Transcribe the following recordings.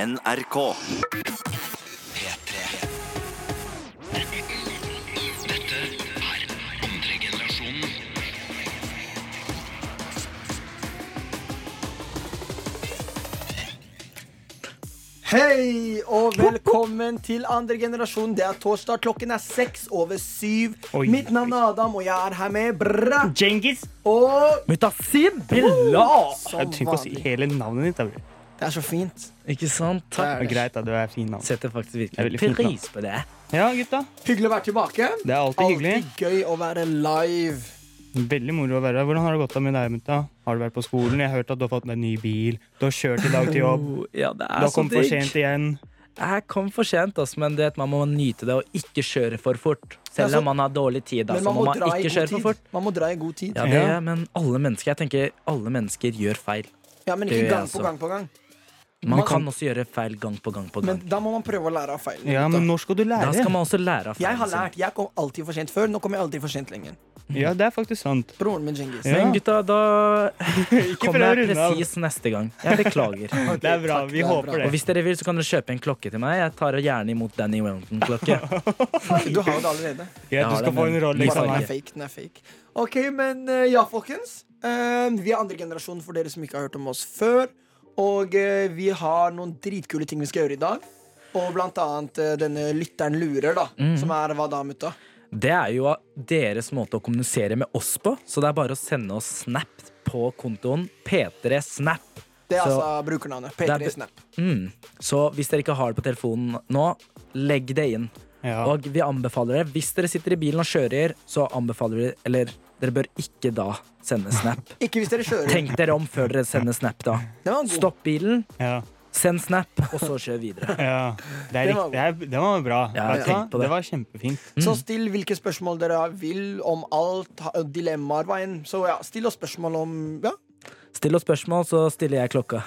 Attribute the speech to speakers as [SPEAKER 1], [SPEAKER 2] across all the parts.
[SPEAKER 1] NRK.
[SPEAKER 2] Hei og velkommen til andre generasjon. Det er torsdag, klokken er seks over syv.
[SPEAKER 3] Oi.
[SPEAKER 2] Mitt navn er Adam, og jeg er her med Bra
[SPEAKER 3] Djengis
[SPEAKER 2] og
[SPEAKER 4] Mutasim!
[SPEAKER 3] Bella!
[SPEAKER 2] Som
[SPEAKER 3] Jeg trenger ikke å si
[SPEAKER 2] vanlig.
[SPEAKER 3] hele navnet ditt. da, bror.
[SPEAKER 2] Det er så fint.
[SPEAKER 4] Ikke sant?
[SPEAKER 3] Det er greit, da. Du er fin navn.
[SPEAKER 4] Setter faktisk
[SPEAKER 3] Det er veldig fint,
[SPEAKER 4] virkelig
[SPEAKER 3] da.
[SPEAKER 4] pris på det.
[SPEAKER 3] Ja, gutta.
[SPEAKER 2] Hyggelig å være tilbake.
[SPEAKER 3] Det er alltid hyggelig.
[SPEAKER 2] Alltid gøy å være live.
[SPEAKER 3] Veldig moro å være her. Hvordan har det gått da med deg, mutta? Har du vært på skolen? Jeg har hørt at du har fått deg ny bil. Du har kjørt i dag til jobb.
[SPEAKER 4] Oh, ja, det
[SPEAKER 3] Du
[SPEAKER 4] er
[SPEAKER 3] har
[SPEAKER 4] så
[SPEAKER 3] kommet for sent
[SPEAKER 4] digg.
[SPEAKER 3] igjen.
[SPEAKER 4] Jeg kom for sent, ass, men du vet, man må nyte det og ikke kjøre for fort. Selv
[SPEAKER 2] Ja, så-
[SPEAKER 4] om man har dårlig tid, da,
[SPEAKER 2] Men
[SPEAKER 4] så
[SPEAKER 2] man
[SPEAKER 4] må
[SPEAKER 2] må
[SPEAKER 4] man
[SPEAKER 2] dra i
[SPEAKER 4] ikke
[SPEAKER 2] god
[SPEAKER 4] kjøre for
[SPEAKER 2] tid.
[SPEAKER 4] fort.
[SPEAKER 2] Man må dra i god tid.
[SPEAKER 4] Ja, det,
[SPEAKER 3] Ja.
[SPEAKER 4] Men alle mennesker jeg tenker, alle mennesker gjør feil.
[SPEAKER 2] Ja, Men
[SPEAKER 4] Det
[SPEAKER 2] ikke
[SPEAKER 4] gjør jeg
[SPEAKER 2] gang
[SPEAKER 3] altså-
[SPEAKER 4] også.
[SPEAKER 2] på gang på gang.
[SPEAKER 4] Man
[SPEAKER 2] Man-
[SPEAKER 4] kan også gjøre feil gang på gang på
[SPEAKER 2] Men
[SPEAKER 4] gang.
[SPEAKER 2] da må man prøve å lære av feilene.
[SPEAKER 3] Ja, men når skal du
[SPEAKER 4] Da skal
[SPEAKER 3] lære?
[SPEAKER 4] man også lære av feil.
[SPEAKER 2] Jeg har lært. Jeg kom alltid for sent før. Nå kommer jeg alltid for sent lenger.
[SPEAKER 3] Ja, det er faktisk sant.
[SPEAKER 2] Broren min Djengis.
[SPEAKER 3] Ja.
[SPEAKER 4] Men gutta, da kommer
[SPEAKER 3] prøv å
[SPEAKER 4] jeg
[SPEAKER 3] runde av.
[SPEAKER 4] presis neste gang. Jeg beklager.
[SPEAKER 3] Det er bra.
[SPEAKER 2] takk,
[SPEAKER 3] Vi
[SPEAKER 2] det er bra.
[SPEAKER 3] håper
[SPEAKER 4] Og
[SPEAKER 3] det.
[SPEAKER 4] hvis dere vil, så kan dere kjøpe en klokke til meg. Jeg tar gjerne imot Danny Wellington-klokke.
[SPEAKER 2] Du har jo det allerede.
[SPEAKER 3] Ja,
[SPEAKER 4] Jeg
[SPEAKER 3] du
[SPEAKER 4] har
[SPEAKER 3] skal
[SPEAKER 4] det,
[SPEAKER 3] få en
[SPEAKER 4] men-
[SPEAKER 3] rolle.
[SPEAKER 4] Bare
[SPEAKER 2] Liksom,
[SPEAKER 3] Liksom.
[SPEAKER 2] den
[SPEAKER 4] farge.
[SPEAKER 2] er fake, den er fake. Ok, men eh, ja, folkens. Eh, vi er andre generasjon for dere som ikke har hørt om oss før. Og eh, vi har noen dritkule ting vi skal gjøre i dag. Og blant annet eh, denne lytteren lurer, da.
[SPEAKER 4] Mhm.
[SPEAKER 2] Som er hva da, mutta?
[SPEAKER 4] Det er jo deres måte å kommunisere med oss på, så det er bare å sende oss snap på kontoen p3snap.
[SPEAKER 2] Det er
[SPEAKER 4] Så-
[SPEAKER 2] altså brukernavnet.
[SPEAKER 4] Det
[SPEAKER 2] P3
[SPEAKER 4] er-
[SPEAKER 2] Snap.
[SPEAKER 4] Mm. Så hvis dere ikke har det på telefonen nå, legg det inn.
[SPEAKER 3] Ja.
[SPEAKER 4] Og vi anbefaler det. Hvis dere sitter i bilen og kjører, så anbefaler vi Eller dere bør ikke da sende snap.
[SPEAKER 2] Ikke hvis dere kjører.
[SPEAKER 4] Tenk dere om før dere sender snap, da.
[SPEAKER 2] Det var en god.
[SPEAKER 4] Stopp bilen,
[SPEAKER 3] Ja.
[SPEAKER 4] send snap, og så kjør videre.
[SPEAKER 3] Ja. Det, er
[SPEAKER 2] Det var
[SPEAKER 3] riktig. Det, er, det var bra.
[SPEAKER 4] Ja,
[SPEAKER 3] Vet du hva?
[SPEAKER 4] tenk på det.
[SPEAKER 3] Det var kjempefint.
[SPEAKER 2] Så still hvilke spørsmål dere vil om alt. ha- Dilemmaer, hva enn. Så ja, still oss spørsmål om Ja.
[SPEAKER 4] Still oss spørsmål, så stiller jeg klokka.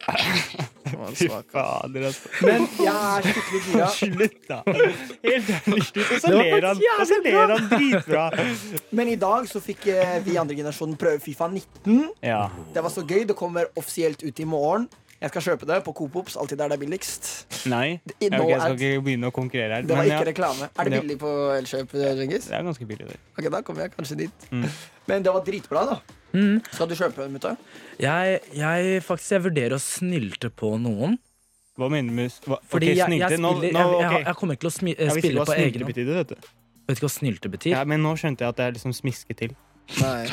[SPEAKER 3] Fy fader, altså.
[SPEAKER 2] Men jeg er skikkelig gira.
[SPEAKER 3] Slutt, da. Helt ærlig, slutt. Og så
[SPEAKER 4] Det var
[SPEAKER 3] ler han.
[SPEAKER 4] faktisk
[SPEAKER 3] Og så
[SPEAKER 4] jævlig
[SPEAKER 3] ler han dritbra.
[SPEAKER 2] Men i dag så fikk eh, vi i andre generasjonen prøve Fifa 19.
[SPEAKER 3] Ja.
[SPEAKER 2] Det var så gøy. Det kommer offisielt ut i morgen. Jeg skal kjøpe det på Coop Ops, alltid der det er billigst.
[SPEAKER 3] Nei.
[SPEAKER 2] I-
[SPEAKER 3] Ja,
[SPEAKER 2] nå
[SPEAKER 3] ok, jeg skal
[SPEAKER 2] er-
[SPEAKER 3] ikke begynne å konkurrere her.
[SPEAKER 2] Det var
[SPEAKER 3] men
[SPEAKER 2] ikke
[SPEAKER 3] ja,
[SPEAKER 2] reklame. Er det
[SPEAKER 3] Ja.
[SPEAKER 2] billig på Elkjøp? Ringis?
[SPEAKER 3] det er ganske billig. Det.
[SPEAKER 2] Ok, da kommer jeg kanskje dit.
[SPEAKER 3] Mm.
[SPEAKER 2] Men det var dritbra, da. Skal du kjøpe den, mutta?
[SPEAKER 4] Jeg, jeg faktisk jeg vurderer å snylte på noen.
[SPEAKER 3] Hva mener du med s- hva?
[SPEAKER 4] Fordi
[SPEAKER 3] Ok,
[SPEAKER 4] jeg, jeg,
[SPEAKER 3] snylte.
[SPEAKER 4] spiller,
[SPEAKER 3] Nå, nå,
[SPEAKER 4] jeg,
[SPEAKER 3] ok.
[SPEAKER 4] jeg, jeg kommer ikke til å smi, eh,
[SPEAKER 3] Jeg visste ikke
[SPEAKER 4] spille
[SPEAKER 3] hva
[SPEAKER 4] på egen
[SPEAKER 3] snylte
[SPEAKER 4] hånd.
[SPEAKER 3] betydde, vet du.
[SPEAKER 4] Vet ikke hva snylte betyr?
[SPEAKER 3] Ja, men nå skjønte jeg at det er liksom smiske til.
[SPEAKER 2] Nei.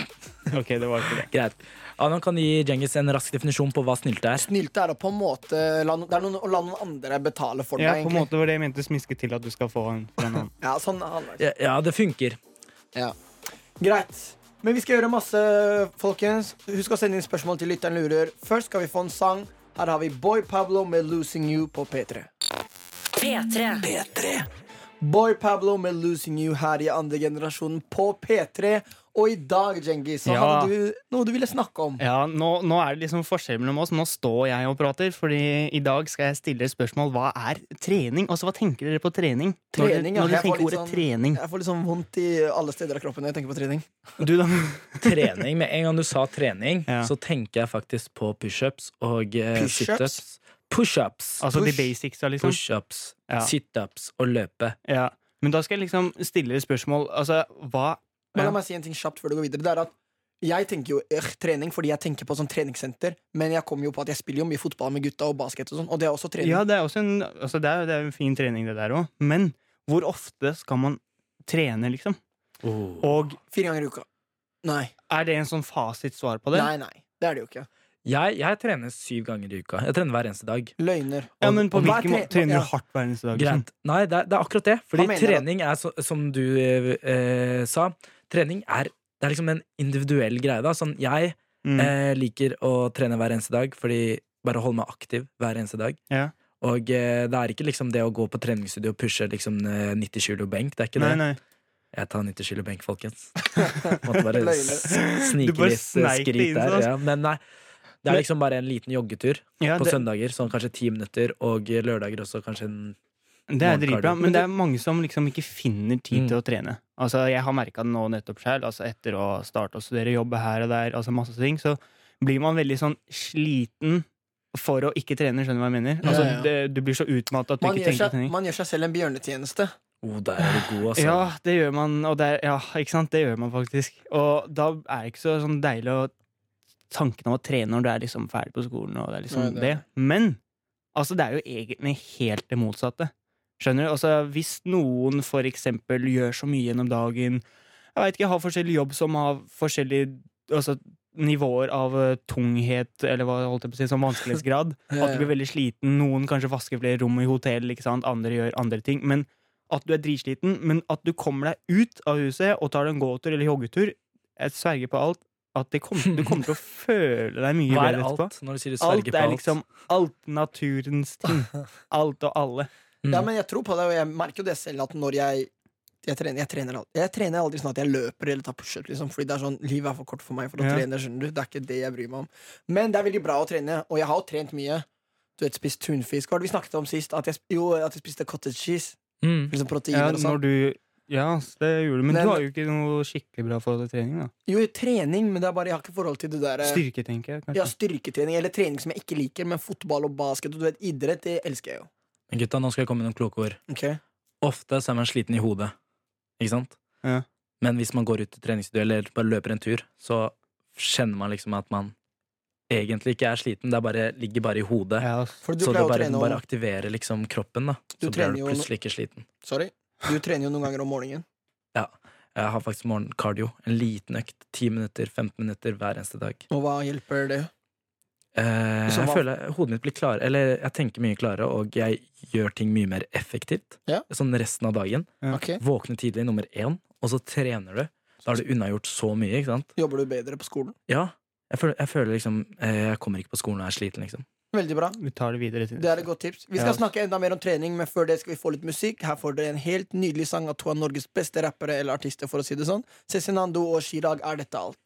[SPEAKER 3] Ok, det var ikke det.
[SPEAKER 4] Greit. Adam kan gi Djengis en rask definisjon på hva snylte er.
[SPEAKER 2] Snylte er å på en måte la, no- det er noen, å la noen andre betale for
[SPEAKER 3] Ja,
[SPEAKER 2] deg.
[SPEAKER 3] på en
[SPEAKER 2] egentlig.
[SPEAKER 3] måte var det jeg mente smiske til, at du skal få en fra en annen.
[SPEAKER 2] Ja, sånn handler det.
[SPEAKER 4] Ja, ja det funker.
[SPEAKER 2] Ja. Greit. Men vi skal gjøre masse, folkens. Husk å sende inn spørsmål til lytteren lurer. Først skal vi få en sang. Her har vi Boy Pablo med 'Losing You' på P3.
[SPEAKER 5] P3.
[SPEAKER 2] Boy Pablo med 'Losing You' her i andre generasjonen på P3. Og i dag, Djengis, så
[SPEAKER 3] Ja.
[SPEAKER 2] hadde du noe du ville snakke om.
[SPEAKER 3] Ja, nå, nå er det liksom forskjell mellom oss. Nå står jeg og prater, fordi i dag skal jeg stille dere spørsmål hva er trening? Altså, hva tenker dere på trening? Når dere-
[SPEAKER 2] Trening, ja.
[SPEAKER 3] når dere
[SPEAKER 2] Jeg får
[SPEAKER 3] tenker
[SPEAKER 2] litt
[SPEAKER 3] ordet
[SPEAKER 2] sånn-
[SPEAKER 3] trening.
[SPEAKER 2] Jeg får litt sånn vondt i alle steder av kroppen når jeg tenker på trening.
[SPEAKER 3] Du, da?
[SPEAKER 4] Trening. Med en gang du sa trening,
[SPEAKER 3] Ja.
[SPEAKER 4] så tenker jeg faktisk på pushups og eh,
[SPEAKER 2] Push-ups?
[SPEAKER 4] situps. Pushups.
[SPEAKER 3] Altså de
[SPEAKER 2] Push.
[SPEAKER 3] basics, da, liksom.
[SPEAKER 4] Pushups,
[SPEAKER 3] Ja.
[SPEAKER 4] situps og løpe.
[SPEAKER 3] Ja. Men da skal jeg liksom stille dere spørsmål. Altså, hva
[SPEAKER 2] Men
[SPEAKER 3] Ja.
[SPEAKER 2] la meg si en ting kjapt før du går videre. Det er at jeg tenker jo øh, trening fordi jeg tenker på sånn treningssenter, men jeg kommer jo på at jeg spiller jo mye fotball med gutta og basket og sånn, og det er også trening.
[SPEAKER 3] Ja, det er også en, altså, det er, det er en fin trening, det der òg. Men hvor ofte skal man trene, liksom? Og
[SPEAKER 2] Fire ganger i uka. Nei.
[SPEAKER 3] er det en sånn fasitsvar på det?
[SPEAKER 2] Nei, nei. Det er det jo ikke.
[SPEAKER 4] Jeg, jeg trener syv ganger i uka. Jeg trener hver eneste dag.
[SPEAKER 2] Løgner.
[SPEAKER 3] Ja, men på
[SPEAKER 2] Og hva er
[SPEAKER 3] hvilken måte
[SPEAKER 2] tre-
[SPEAKER 3] trener
[SPEAKER 2] ja.
[SPEAKER 3] du hardt hver eneste dag? Liksom?
[SPEAKER 4] Greit. Nei, det er, det er akkurat det.
[SPEAKER 2] Hva
[SPEAKER 4] Fordi
[SPEAKER 2] mener du?
[SPEAKER 4] trening er, så, som du eh, eh, sa, trening er, det er liksom en individuell greie. da Sånn, Jeg
[SPEAKER 3] Mm.
[SPEAKER 4] eh, liker å trene hver eneste dag, fordi bare holde meg aktiv hver eneste dag.
[SPEAKER 3] Ja.
[SPEAKER 4] Og eh, det er ikke liksom det å gå på treningsstudio og pushe liksom, eh, 90 kilo benk. Det er ikke
[SPEAKER 3] Nei,
[SPEAKER 4] det.
[SPEAKER 3] nei.
[SPEAKER 4] Jeg tar 90 kilo benk, folkens. Måtte bare s-
[SPEAKER 3] Du
[SPEAKER 4] snike
[SPEAKER 3] bare
[SPEAKER 4] litt eh,
[SPEAKER 3] sneik det
[SPEAKER 4] skryt
[SPEAKER 3] inn,
[SPEAKER 4] der.
[SPEAKER 3] sånn.
[SPEAKER 4] Ja. Men nei. Det er liksom bare en liten joggetur
[SPEAKER 3] Ja,
[SPEAKER 4] på
[SPEAKER 3] det,
[SPEAKER 4] søndager, sånn kanskje ti minutter, og lørdager også kanskje en
[SPEAKER 3] det er
[SPEAKER 4] morgenkardio.
[SPEAKER 3] dritbra,
[SPEAKER 4] Men
[SPEAKER 3] men det er mange som liksom ikke finner tid
[SPEAKER 4] Mm.
[SPEAKER 3] til å trene. Altså, jeg har merka det nå nettopp sjøl, altså etter å starte å studere, jobbe her og der, altså masse ting, så blir man veldig sånn sliten for å ikke trene. Skjønner du hva jeg mener? Altså,
[SPEAKER 2] Ja, ja.
[SPEAKER 3] Det, du blir så utmattet at du
[SPEAKER 2] Man
[SPEAKER 3] ikke
[SPEAKER 2] gjør,
[SPEAKER 3] tenker
[SPEAKER 2] seg,
[SPEAKER 3] på trening.
[SPEAKER 2] man gjør seg selv en bjørnetjeneste.
[SPEAKER 4] Oh, der er du god, altså.
[SPEAKER 3] Ja, det gjør man. Og det er, ja, ikke sant? Det gjør man faktisk. Og da er det ikke så sånn deilig å tanken om å trene når du er liksom ferdig på skolen. Og det er liksom
[SPEAKER 2] Nei, det
[SPEAKER 3] det.
[SPEAKER 2] er
[SPEAKER 3] Men altså, det er jo egentlig helt det motsatte. Skjønner du? Altså, hvis noen for eksempel gjør så mye gjennom dagen, jeg vet ikke, har forskjellig jobb som har forskjellige altså, nivåer av eh, tunghet, eller hva holdt jeg på å si, som vanskelighetsgrad,
[SPEAKER 2] Ja, ja.
[SPEAKER 3] at du
[SPEAKER 4] Eh.
[SPEAKER 3] blir veldig sliten, noen kanskje vasker flere rom i hotell, ikke sant? andre gjør andre ting, men at du er dritsliten, men at du kommer deg ut av huset og tar deg en gåtur eller joggetur, jeg sverger på alt, at det kom, du kommer til å føle deg mye
[SPEAKER 4] Hva er
[SPEAKER 3] bedre etterpå.
[SPEAKER 4] alt når du sier du
[SPEAKER 3] Alt
[SPEAKER 4] sverger på
[SPEAKER 3] er
[SPEAKER 4] alt?
[SPEAKER 3] liksom alt naturens ting. Alt og alle.
[SPEAKER 4] Mm.
[SPEAKER 2] Ja, men jeg tror på det, og jeg merker jo det selv at når jeg jeg trener, jeg, trener, al- jeg trener aldri sånn at jeg løper eller tar pushup. Liksom, fordi det er sånn, livet er for kort for meg for å
[SPEAKER 3] Ja.
[SPEAKER 2] trene. skjønner du Det er ikke det jeg bryr meg om. Men det er veldig bra å trene, og jeg har jo trent mye. Du vet, Spist tunfisk. Hva var det vi snakket om sist? At jeg, sp- jo, at jeg spiste cottage cheese.
[SPEAKER 4] Mm.
[SPEAKER 2] Liksom proteiner
[SPEAKER 3] Ja,
[SPEAKER 2] og sånn.
[SPEAKER 3] når du ja, ass, det gjorde du. Men,
[SPEAKER 2] Men-
[SPEAKER 3] du har jo ikke noe skikkelig bra forhold til trening. da
[SPEAKER 2] Jo, trening, men det er bare, jeg har ikke forhold til det der eh,
[SPEAKER 3] Styrke, tenker jeg.
[SPEAKER 2] ja,
[SPEAKER 3] kanskje
[SPEAKER 2] styrketrening eller trening som jeg ikke liker, men fotball og basket og du vet, idrett, det elsker jeg jo.
[SPEAKER 4] Men Gutta, nå skal jeg komme med noen kloke ord.
[SPEAKER 2] Ok?
[SPEAKER 4] Ofte så er man sliten i hodet, ikke sant?
[SPEAKER 3] Ja.
[SPEAKER 4] Men hvis man går ut i treningsstudio eller bare løper en tur, så kjenner man liksom at man egentlig ikke er sliten, det er bare, ligger bare i hodet.
[SPEAKER 3] Ja, ass.
[SPEAKER 2] For du
[SPEAKER 4] Så du
[SPEAKER 2] pleier å
[SPEAKER 4] bare,
[SPEAKER 2] trene
[SPEAKER 4] den
[SPEAKER 2] om
[SPEAKER 4] bare aktiverer liksom kroppen, da.
[SPEAKER 2] Du
[SPEAKER 4] Så
[SPEAKER 2] trener
[SPEAKER 4] blir du
[SPEAKER 2] jo no-
[SPEAKER 4] plutselig ikke sliten.
[SPEAKER 2] Sorry. Du trener jo noen ganger om morgenen.
[SPEAKER 4] Jeg har faktisk morgenkardio. En liten økt. 10 minutter, 15 minutter hver eneste dag.
[SPEAKER 2] Og hva hjelper det?
[SPEAKER 4] Eh,
[SPEAKER 2] Som
[SPEAKER 4] jeg
[SPEAKER 2] hva?
[SPEAKER 4] føler hodet mitt blir klarere, eller jeg tenker mye klarere, og jeg gjør ting mye mer effektivt.
[SPEAKER 2] Ja.
[SPEAKER 4] Sånn resten av dagen.
[SPEAKER 3] Ja.
[SPEAKER 2] Ok,
[SPEAKER 4] Våkne tidlig, nummer én, og så trener du. Da har du unnagjort så mye, ikke sant?
[SPEAKER 2] Jobber du bedre på skolen?
[SPEAKER 4] Ja. Jeg føler, jeg føler liksom eh, Jeg kommer ikke på skolen og er sliten, liksom.
[SPEAKER 2] Veldig bra.
[SPEAKER 3] Vi tar det videre. til
[SPEAKER 2] Det er et godt tips. Vi skal
[SPEAKER 3] Ja.
[SPEAKER 2] snakke enda mer om trening, men før det skal vi få litt musikk. Her får dere en helt nydelig sang av to av Norges beste rappere eller artister, for å si det sånn. Cezinando og Chirag er dette alt.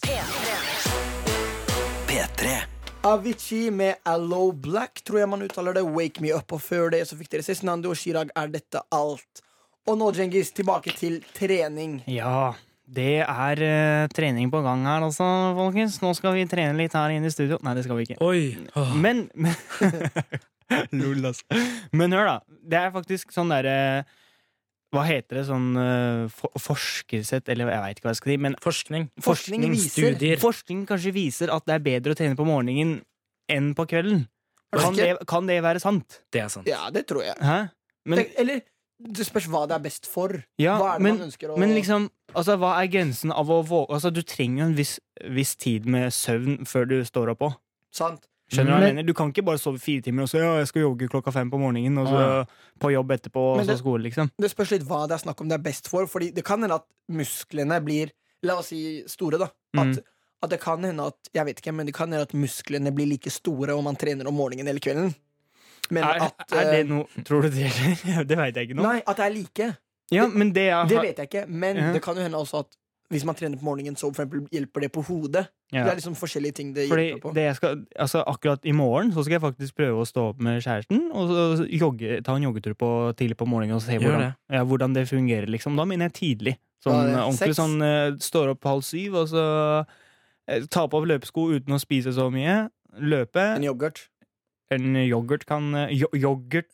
[SPEAKER 2] Avicii med Allo Black, tror jeg man uttaler det. Wake Me Up. Og før det så fikk dere Cezinando og Chirag er dette alt. Og nå, Djengis, tilbake til trening.
[SPEAKER 3] Ja, det er eh, trening på gang her, altså, folkens. Nå skal vi trene litt her inne i studio. Nei, det skal vi ikke.
[SPEAKER 4] Oi! Åh.
[SPEAKER 3] Men, men Lol, altså. Men hør, da. Det er faktisk sånn derre Hva heter det? Sånn eh, for forskersett, eller jeg veit ikke hva jeg skal si. Men
[SPEAKER 4] Forskning.
[SPEAKER 2] Forskning viser
[SPEAKER 4] Studier.
[SPEAKER 3] forskning kanskje viser at det er bedre å trene på morgenen enn på kvelden.
[SPEAKER 2] Er det
[SPEAKER 3] Kan det,
[SPEAKER 2] ikke?
[SPEAKER 3] kan det være sant?
[SPEAKER 4] Det er sant.
[SPEAKER 2] Ja, det tror jeg.
[SPEAKER 3] Hæ? Men,
[SPEAKER 2] Tenk- eller det spørs hva det er best for.
[SPEAKER 3] ja,
[SPEAKER 2] Hva er det
[SPEAKER 3] men,
[SPEAKER 2] man ønsker å
[SPEAKER 3] Men liksom, altså, hva er grensen av å våge Altså, du trenger jo en viss, viss tid med søvn før du står opp òg.
[SPEAKER 2] Sant?
[SPEAKER 3] Skjønner du hva jeg
[SPEAKER 2] Men-
[SPEAKER 3] mener? Du kan ikke bare sove fire timer og så ja, jeg skal jogge klokka fem på morgenen, og så
[SPEAKER 4] Ja.
[SPEAKER 3] på jobb etterpå, og
[SPEAKER 2] Men
[SPEAKER 3] så
[SPEAKER 2] det-
[SPEAKER 3] skole, liksom.
[SPEAKER 2] Det spørs litt hva det er snakk om det er best for. Fordi det kan hende at musklene blir La oss si store, da. At,
[SPEAKER 3] Mm.
[SPEAKER 2] at det kan hende at Jeg vet ikke, men det kan hende at musklene blir like store om man trener om morgenen eller kvelden. Men
[SPEAKER 3] Er,
[SPEAKER 2] at
[SPEAKER 3] er det
[SPEAKER 2] eh,
[SPEAKER 3] noe Tror du det gjelder? det veit jeg ikke nå.
[SPEAKER 2] Nei, at det er like.
[SPEAKER 3] ja, men det jeg
[SPEAKER 2] Det
[SPEAKER 3] har
[SPEAKER 2] vet jeg ikke. Men
[SPEAKER 3] Ja.
[SPEAKER 2] det kan jo hende også at hvis man trener på morgenen, så for eksempel hjelper det på hodet.
[SPEAKER 3] ja.
[SPEAKER 2] Det er liksom forskjellige ting det
[SPEAKER 3] Fordi
[SPEAKER 2] hjelper på.
[SPEAKER 3] det jeg skal, altså akkurat i morgen så skal jeg faktisk prøve å stå opp med kjæresten og så jogge, ta en joggetur på, tidlig på morgenen og se
[SPEAKER 4] Gjør
[SPEAKER 3] hvordan, ja, hvordan det fungerer. liksom. Da mener jeg tidlig. Sånn
[SPEAKER 2] Ja, det er
[SPEAKER 3] eh, ordentlig
[SPEAKER 2] seks.
[SPEAKER 3] sånn eh, står opp halv syv, og så eh, ta på løpesko uten å spise så mye. Løpe.
[SPEAKER 2] En yoghurt.
[SPEAKER 3] En yoghurt kan eh, jo, Yoghurt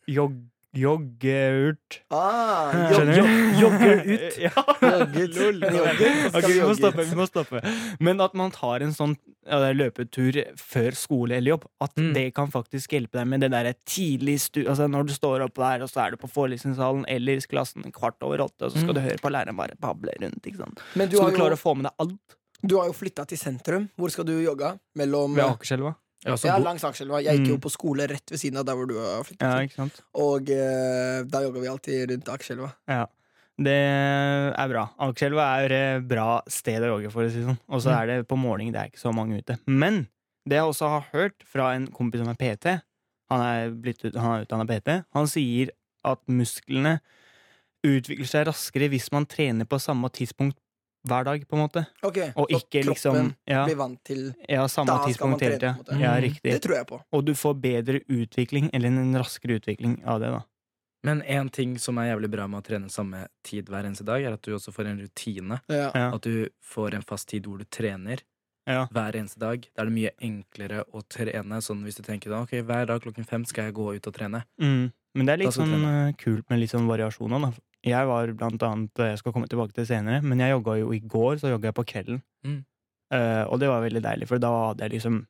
[SPEAKER 3] jog, Yoghurt
[SPEAKER 2] Ah,
[SPEAKER 3] Skjønner
[SPEAKER 2] yoghurt.
[SPEAKER 3] du?
[SPEAKER 4] jogger ut.
[SPEAKER 3] ja.
[SPEAKER 2] Jogget.
[SPEAKER 3] Lol.
[SPEAKER 2] Jogget.
[SPEAKER 3] Ok,
[SPEAKER 2] Skal vi
[SPEAKER 3] vi må
[SPEAKER 2] jogge
[SPEAKER 3] stoppe,
[SPEAKER 2] ut?
[SPEAKER 3] vi må stoppe. Men at man tar en sånn ja, det er løpetur før skole eller jobb, at
[SPEAKER 4] Mm.
[SPEAKER 3] det kan faktisk hjelpe deg med det derre tidlig stu... Altså når du står opp der, og så er du på forelesningssalen eller klassen kvart over åtte, og så skal
[SPEAKER 4] Mm.
[SPEAKER 3] du høre på læreren bare bable rundt, ikke sant.
[SPEAKER 2] Men du
[SPEAKER 3] Skal
[SPEAKER 2] har
[SPEAKER 3] du
[SPEAKER 2] jo,
[SPEAKER 3] klare å få med deg alt
[SPEAKER 2] du har jo flytta til sentrum. Hvor skal du jogge? Mellom
[SPEAKER 3] ved Akerselva?
[SPEAKER 4] Jeg har også
[SPEAKER 2] Ja,
[SPEAKER 4] bo-
[SPEAKER 2] langs Akerselva. Jeg gikk jo
[SPEAKER 3] Altså, Mm.
[SPEAKER 2] på skole rett ved siden av der hvor du har flyttet
[SPEAKER 3] Ja,
[SPEAKER 2] til.
[SPEAKER 3] ikke sant.
[SPEAKER 2] Og eh, da jogga vi alltid rundt Akerselva.
[SPEAKER 3] Ja. Det er bra. Akerselva er eh, bra sted å jogge, for å si det sånn. Og så
[SPEAKER 4] Mm.
[SPEAKER 3] er det på morgenen, det er ikke så mange ute. Men det jeg også har hørt fra en kompis som er PT, han er, blitt ut, han er utdanna PT, han sier at musklene utvikler seg raskere hvis man trener på samme tidspunkt hver dag, på en måte.
[SPEAKER 2] Ok,
[SPEAKER 3] Og
[SPEAKER 2] så
[SPEAKER 3] ikke
[SPEAKER 2] kroppen
[SPEAKER 3] liksom Ja,
[SPEAKER 2] blir vant til
[SPEAKER 3] ja samme
[SPEAKER 2] Da skal man
[SPEAKER 3] tidspunkt hele
[SPEAKER 2] trene, på en
[SPEAKER 3] tida.
[SPEAKER 2] måte.
[SPEAKER 3] Ja,
[SPEAKER 4] Mm.
[SPEAKER 3] riktig.
[SPEAKER 2] Det tror jeg på.
[SPEAKER 3] Og du får bedre utvikling, eller en raskere utvikling av det, da.
[SPEAKER 4] Men én ting som er jævlig bra med å trene samme tid hver eneste dag, er at du også får en rutine.
[SPEAKER 2] Ja.
[SPEAKER 3] Ja.
[SPEAKER 4] At du får en fast tid hvor du trener.
[SPEAKER 3] Ja.
[SPEAKER 4] hver eneste dag. Da er det mye enklere å trene. Sånn hvis du tenker da, ok, hver dag klokken fem skal jeg gå ut og trene.
[SPEAKER 3] Mm. Men det er
[SPEAKER 4] Da
[SPEAKER 3] litt
[SPEAKER 4] skal
[SPEAKER 3] sånn
[SPEAKER 4] du
[SPEAKER 3] eh, kult med litt sånn variasjoner, da. Jeg var blant annet eh, Jeg skal komme tilbake til det senere, men jeg jogga jo i går, så jogga jeg på kvelden.
[SPEAKER 4] Mm.
[SPEAKER 3] Eh, og det var veldig deilig, for da hadde jeg liksom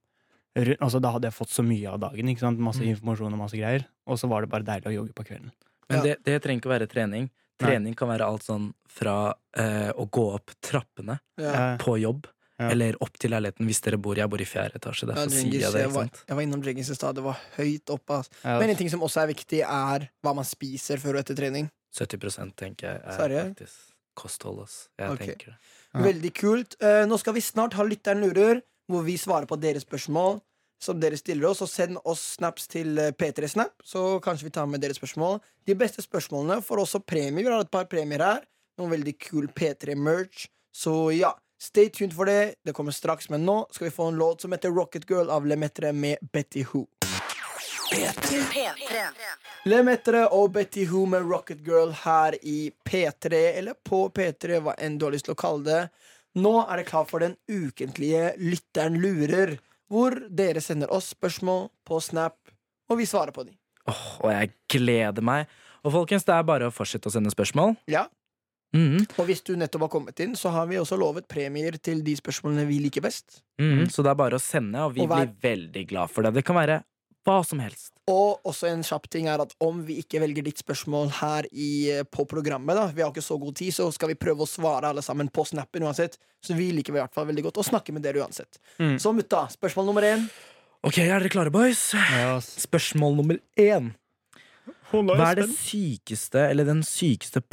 [SPEAKER 3] ru- Altså, da hadde jeg fått så mye av dagen, ikke sant? Masse
[SPEAKER 4] Mm.
[SPEAKER 3] informasjon og masse greier. Og så var det bare deilig å jogge på kvelden.
[SPEAKER 4] Men
[SPEAKER 2] Ja.
[SPEAKER 4] det, det trenger ikke å være
[SPEAKER 3] Nei.
[SPEAKER 4] trening. Trening kan være alt sånn fra eh, å gå opp trappene
[SPEAKER 2] Ja.
[SPEAKER 3] Eh,
[SPEAKER 4] på jobb,
[SPEAKER 3] Ja.
[SPEAKER 4] eller opp til leiligheten hvis dere bor Jeg bor i fjerde etasje,
[SPEAKER 2] Ja,
[SPEAKER 4] derfor sier
[SPEAKER 2] Djengis,
[SPEAKER 4] jeg det.
[SPEAKER 2] jeg,
[SPEAKER 4] ikke
[SPEAKER 2] var,
[SPEAKER 4] sant?
[SPEAKER 2] jeg var innom Jeggings i stad. Det var høyt oppe. ass.
[SPEAKER 3] ja,
[SPEAKER 2] Men en ting som også er viktig, er hva man spiser før og etter trening.
[SPEAKER 4] 70 tenker jeg er
[SPEAKER 2] Sverre?
[SPEAKER 4] faktisk kosthold, ass. Jeg
[SPEAKER 2] Ok.
[SPEAKER 4] tenker det.
[SPEAKER 3] Ja.
[SPEAKER 2] Veldig kult. Eh, nå skal vi snart ha Lytteren lurer, hvor vi svarer på deres spørsmål. Som dere stiller oss, og Send oss snaps til eh, P3 Snap, så kanskje vi tar med deres spørsmål. De beste spørsmålene får også premie. Vi har et par premier her. Noen veldig kul P3-merch. Så ja, stay tuned for det. Det kommer straks, men nå skal vi få en låt som heter Rocket Girl av Lemetre med Betty Who.
[SPEAKER 5] P3.
[SPEAKER 2] Lemetre og Betty Who med Rocket Girl her i P3, eller på P3, hva enn du har lyst til å kalle det. Nå er det klar for den ukentlige Lytteren lurer, hvor dere sender oss spørsmål på Snap, og vi svarer på dem.
[SPEAKER 4] Åh, og jeg gleder meg. Og folkens, det er bare å fortsette å sende spørsmål.
[SPEAKER 2] Ja.
[SPEAKER 4] Mhm.
[SPEAKER 2] Og hvis du nettopp har kommet inn, så har vi også lovet premier til de spørsmålene vi liker best.
[SPEAKER 4] Mhm. Så det er bare å sende, og vi
[SPEAKER 2] Og hver-
[SPEAKER 4] blir veldig glad for det. Det kan være hva som helst.
[SPEAKER 2] Og også en kjapp ting er at om vi ikke velger ditt spørsmål her i, eh, på programmet, da, vi har ikke så god tid, så skal vi prøve å svare alle sammen på snappen uansett. Så vi liker i hvert fall veldig godt å snakke med dere uansett.
[SPEAKER 3] Mm.
[SPEAKER 2] Så mutta, spørsmål nummer én.
[SPEAKER 4] Ok, er dere klare, boys?
[SPEAKER 3] Ja, ass.
[SPEAKER 4] Spørsmål nummer én. Hva er det sykeste eller den sykeste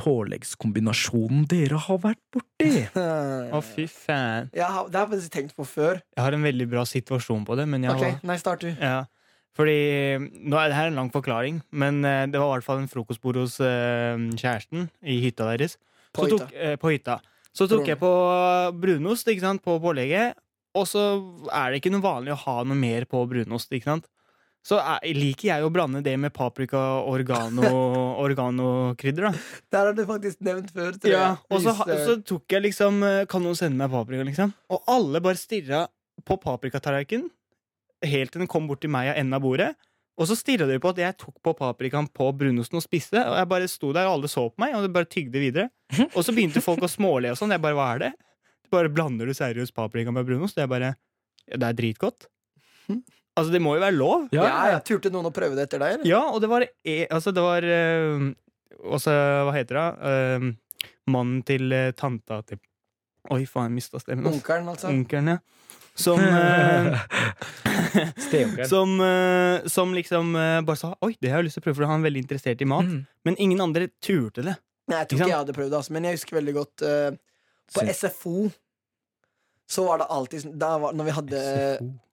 [SPEAKER 4] påleggskombinasjonen dere har vært borti?
[SPEAKER 3] Å, fy faen.
[SPEAKER 2] Jeg har, det har jeg faktisk tenkt på før.
[SPEAKER 3] Jeg har en veldig bra situasjon på det, men jeg
[SPEAKER 2] Ok,
[SPEAKER 3] var
[SPEAKER 2] Nei, start du.
[SPEAKER 3] Ja, fordi mm, nå er det her en lang forklaring, men eh, det var i hvert fall en frokostbord hos eh, kjæresten i hytta deres.
[SPEAKER 2] På
[SPEAKER 3] Så
[SPEAKER 2] hytta.
[SPEAKER 3] Tok, eh, på hytta. Så tok
[SPEAKER 2] Brun.
[SPEAKER 3] jeg på brunost ikke sant, på pålegget, og så er det ikke noe vanlig å ha noe mer på brunost. ikke sant? Så er, liker jeg å blande det med paprika og oregano, oreganokrydder. da.
[SPEAKER 2] Der har du faktisk nevnt før. tror
[SPEAKER 3] Ja,
[SPEAKER 2] jeg.
[SPEAKER 3] og så, ha-
[SPEAKER 2] Hvis, eh,
[SPEAKER 3] så tok jeg liksom eh, Kan noen sende meg paprika, liksom? Og alle bare stirra på paprikatallerkenen helt til den kom bort til meg av enden av bordet. Og så stirra de på at jeg tok på paprikaen på brunosten og spiste. Og jeg bare sto der, og alle så på meg, og de bare tygde videre. Og så begynte folk å småle og sånn. Jeg bare, hva er det? Du bare blander du seriøst paprika med brunost? Og jeg bare, ja, det er dritgodt. Altså, det må jo være lov.
[SPEAKER 2] ja, ja, Turte noen å prøve det etter deg? eller?
[SPEAKER 3] Ja, og det var e Altså, det var eh, Også, hva heter det? Eh, mannen til eh, tanta til Oi, faen, jeg mista stemmen. ass.
[SPEAKER 2] Onkelen, altså.
[SPEAKER 3] Onkelen, ja. Som eh,
[SPEAKER 4] Steonkelen.
[SPEAKER 3] som, eh, som liksom eh, bare sa Oi, det har jeg lyst til å prøve, for han er veldig interessert i mat.
[SPEAKER 4] Mhm.
[SPEAKER 3] Men ingen andre turte det.
[SPEAKER 2] Nei, jeg tror
[SPEAKER 3] Ikke
[SPEAKER 2] ikke
[SPEAKER 3] sant?
[SPEAKER 2] jeg hadde prøvd det, altså, men jeg husker veldig godt eh, På
[SPEAKER 4] Syns-
[SPEAKER 2] SFO så var det alltid sånn da var, Når vi hadde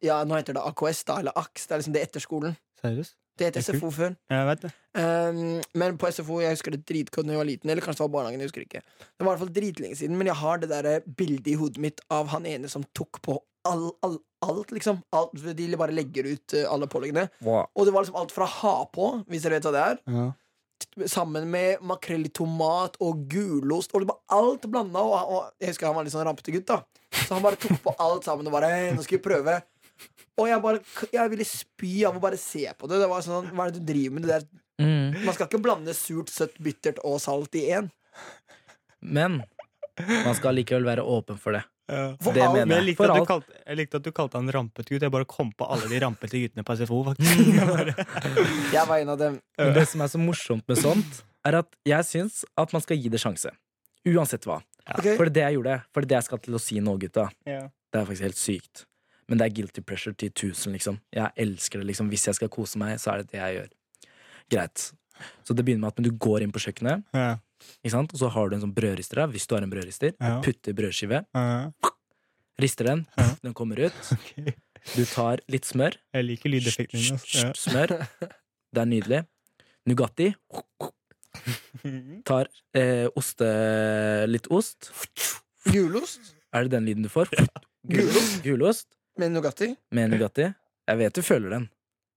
[SPEAKER 2] Ja, nå heter det AKS, da, eller AKS. Det er liksom det etter skolen.
[SPEAKER 3] Seriøst?
[SPEAKER 2] Det het
[SPEAKER 3] Det er kult.
[SPEAKER 2] SFO før.
[SPEAKER 3] Jeg vet det.
[SPEAKER 2] Um, men på SFO, jeg husker det dritgodt når jeg var liten. Eller kanskje det var barnehagen, jeg husker ikke Det var i hvert fall dritlenge siden, men jeg har det der eh, bildet i hodet mitt av han ene som tok på all, all, alt, liksom. Alt, de bare legger ut eh, alle påleggene.
[SPEAKER 4] Wow.
[SPEAKER 2] Og det var liksom alt fra ha på, hvis dere vet hva det er,
[SPEAKER 3] Ja.
[SPEAKER 2] t- sammen med makrell i tomat og gulost og det var alt blanda. Og, og jeg husker han var litt sånn rampete gutt, da. Så han bare tok på alt sammen og bare «Hei, Nå skal vi prøve. Og jeg bare k- Jeg ville spy av å bare se på det. Det var sånn, Hva er det du driver med? Det der
[SPEAKER 4] Mhm.
[SPEAKER 2] man skal ikke blande surt, søtt, bittert og salt i én.
[SPEAKER 4] Men man skal likevel være åpen for det.
[SPEAKER 2] For
[SPEAKER 4] Det
[SPEAKER 2] alt-
[SPEAKER 4] mener
[SPEAKER 3] Men jeg
[SPEAKER 4] jeg.
[SPEAKER 3] likte,
[SPEAKER 4] For
[SPEAKER 3] at du
[SPEAKER 4] alt.
[SPEAKER 3] kalte, jeg likte at du kalte han rampete gutt. Jeg bare kom på alle de rampete guttene på SFO, faktisk. Jeg bare,
[SPEAKER 2] Jeg var en av dem.
[SPEAKER 4] Men det som er så morsomt med sånt, er at jeg syns at man skal gi det sjanse. Uansett hva.
[SPEAKER 2] Ok.
[SPEAKER 4] For det er det jeg gjorde, for det er det jeg skal til å si nå, gutta.
[SPEAKER 3] ja.
[SPEAKER 4] Det er faktisk helt sykt. Men det er guilty pressure til 1000, liksom. Jeg elsker det, liksom. Hvis jeg skal kose meg, så er det det jeg gjør. Greit. Så det begynner med at men du går inn på kjøkkenet,
[SPEAKER 3] Ja.
[SPEAKER 4] ikke sant? og så har du en sånn brødrister der, hvis du har en brødrister.
[SPEAKER 3] Ja.
[SPEAKER 4] Putter brødskive,
[SPEAKER 3] Ja.
[SPEAKER 4] rister den,
[SPEAKER 3] Ja.
[SPEAKER 4] den kommer ut.
[SPEAKER 3] Ok.
[SPEAKER 4] Du tar litt smør.
[SPEAKER 3] Jeg liker lydeffekten din. ass. Ja.
[SPEAKER 4] Smør. Det er nydelig. Nugatti. Tar eh, oste, litt ost.
[SPEAKER 2] Gulost
[SPEAKER 4] Er det den lyden du får?
[SPEAKER 2] Gulost?
[SPEAKER 4] Gulost
[SPEAKER 2] med Nugatti.
[SPEAKER 4] med Nugatti. Jeg vet du føler den.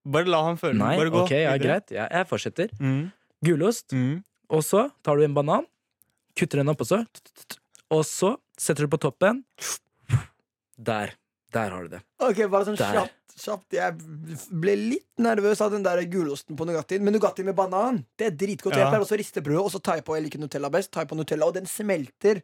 [SPEAKER 3] Bare la han føle
[SPEAKER 4] Nei,
[SPEAKER 3] det. Bare gå
[SPEAKER 4] ok, ja,
[SPEAKER 3] videre.
[SPEAKER 4] greit. Jeg, jeg fortsetter.
[SPEAKER 3] Mm.
[SPEAKER 4] Gulost.
[SPEAKER 3] Mm.
[SPEAKER 4] Og så tar du en banan. Kutter den opp også. Og så setter du på toppen. Der. Der har du det.
[SPEAKER 2] Ok, bare sånn
[SPEAKER 4] Der.
[SPEAKER 2] kjapt, kjapt Jeg ble litt nervøs av den der gulosten på Nugattien. Men Nugatti med banan Det er dritgodt.
[SPEAKER 3] Ja.
[SPEAKER 2] Jeg pleier også å riste brødet, og så tar jeg på jeg liker Nutella best. Tar jeg på Nutella, Og den smelter.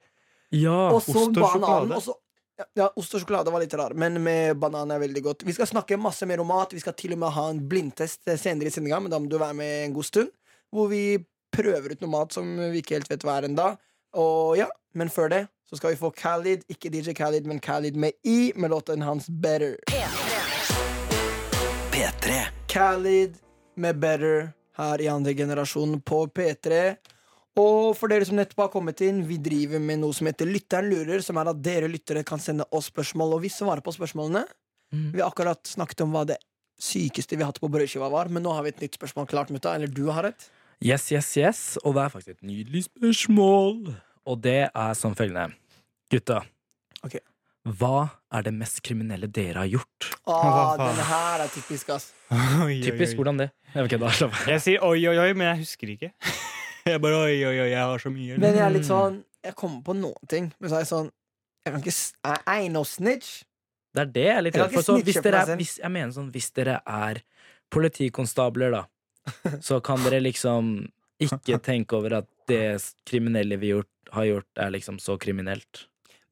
[SPEAKER 4] Ja.
[SPEAKER 2] Og så
[SPEAKER 3] Ah, ost og
[SPEAKER 2] bananen.
[SPEAKER 3] sjokolade.
[SPEAKER 2] Og så, ja, ja, ost og sjokolade var litt rar, men med banan er veldig godt. Vi skal snakke masse mer om mat. Vi skal til og med ha en blindtest eh, senere i sendinga, men da må du være med en god stund. Hvor vi prøver ut noe mat som vi ikke helt vet hva er ennå. Og ja, men før det så skal vi få Khalid, ikke DJ Khalid, men Khalid med I, med låten hans Better.
[SPEAKER 1] P3
[SPEAKER 2] Khalid med Better her i andre generasjon på P3. Og for dere som nettopp har kommet inn, vi driver med noe som heter Lytteren lurer, som er at dere lyttere kan sende oss spørsmål, og vi svarer på spørsmålene.
[SPEAKER 4] Mhm.
[SPEAKER 2] Vi har akkurat snakket om hva det sykeste vi har hatt på brødskiva var, men nå har vi et nytt spørsmål klart, mutta. Eller du har et.
[SPEAKER 4] Yes, yes, yes. Og det er faktisk et nydelig spørsmål. Og det er som følgende. Gutta.
[SPEAKER 2] Ok.
[SPEAKER 4] Hva er det mest kriminelle dere har gjort?
[SPEAKER 2] Å,
[SPEAKER 3] Hva faen?
[SPEAKER 2] denne her er typisk, ass.
[SPEAKER 4] Typisk. Hvordan det? Jeg vet ikke, da, slapp av.
[SPEAKER 3] Jeg sier oi, oi, oi, men jeg husker ikke. Jeg bare oi, oi, oi, jeg har så mye.
[SPEAKER 2] Men jeg er litt sånn Jeg kommer på noen ting, men så er jeg sånn Jeg kan ikke s- Jeg er no snitch.
[SPEAKER 4] Det er det jeg er litt
[SPEAKER 2] Jeg kan
[SPEAKER 4] redd for.
[SPEAKER 2] ikke
[SPEAKER 4] Så
[SPEAKER 2] snitche
[SPEAKER 4] hvis
[SPEAKER 2] på
[SPEAKER 4] dere
[SPEAKER 2] meg
[SPEAKER 4] er,
[SPEAKER 2] selv.
[SPEAKER 4] hvis, jeg mener sånn, hvis dere er politikonstabler, da, så kan dere liksom ikke tenke over at det kriminelle vi gjort, har gjort, er liksom så kriminelt.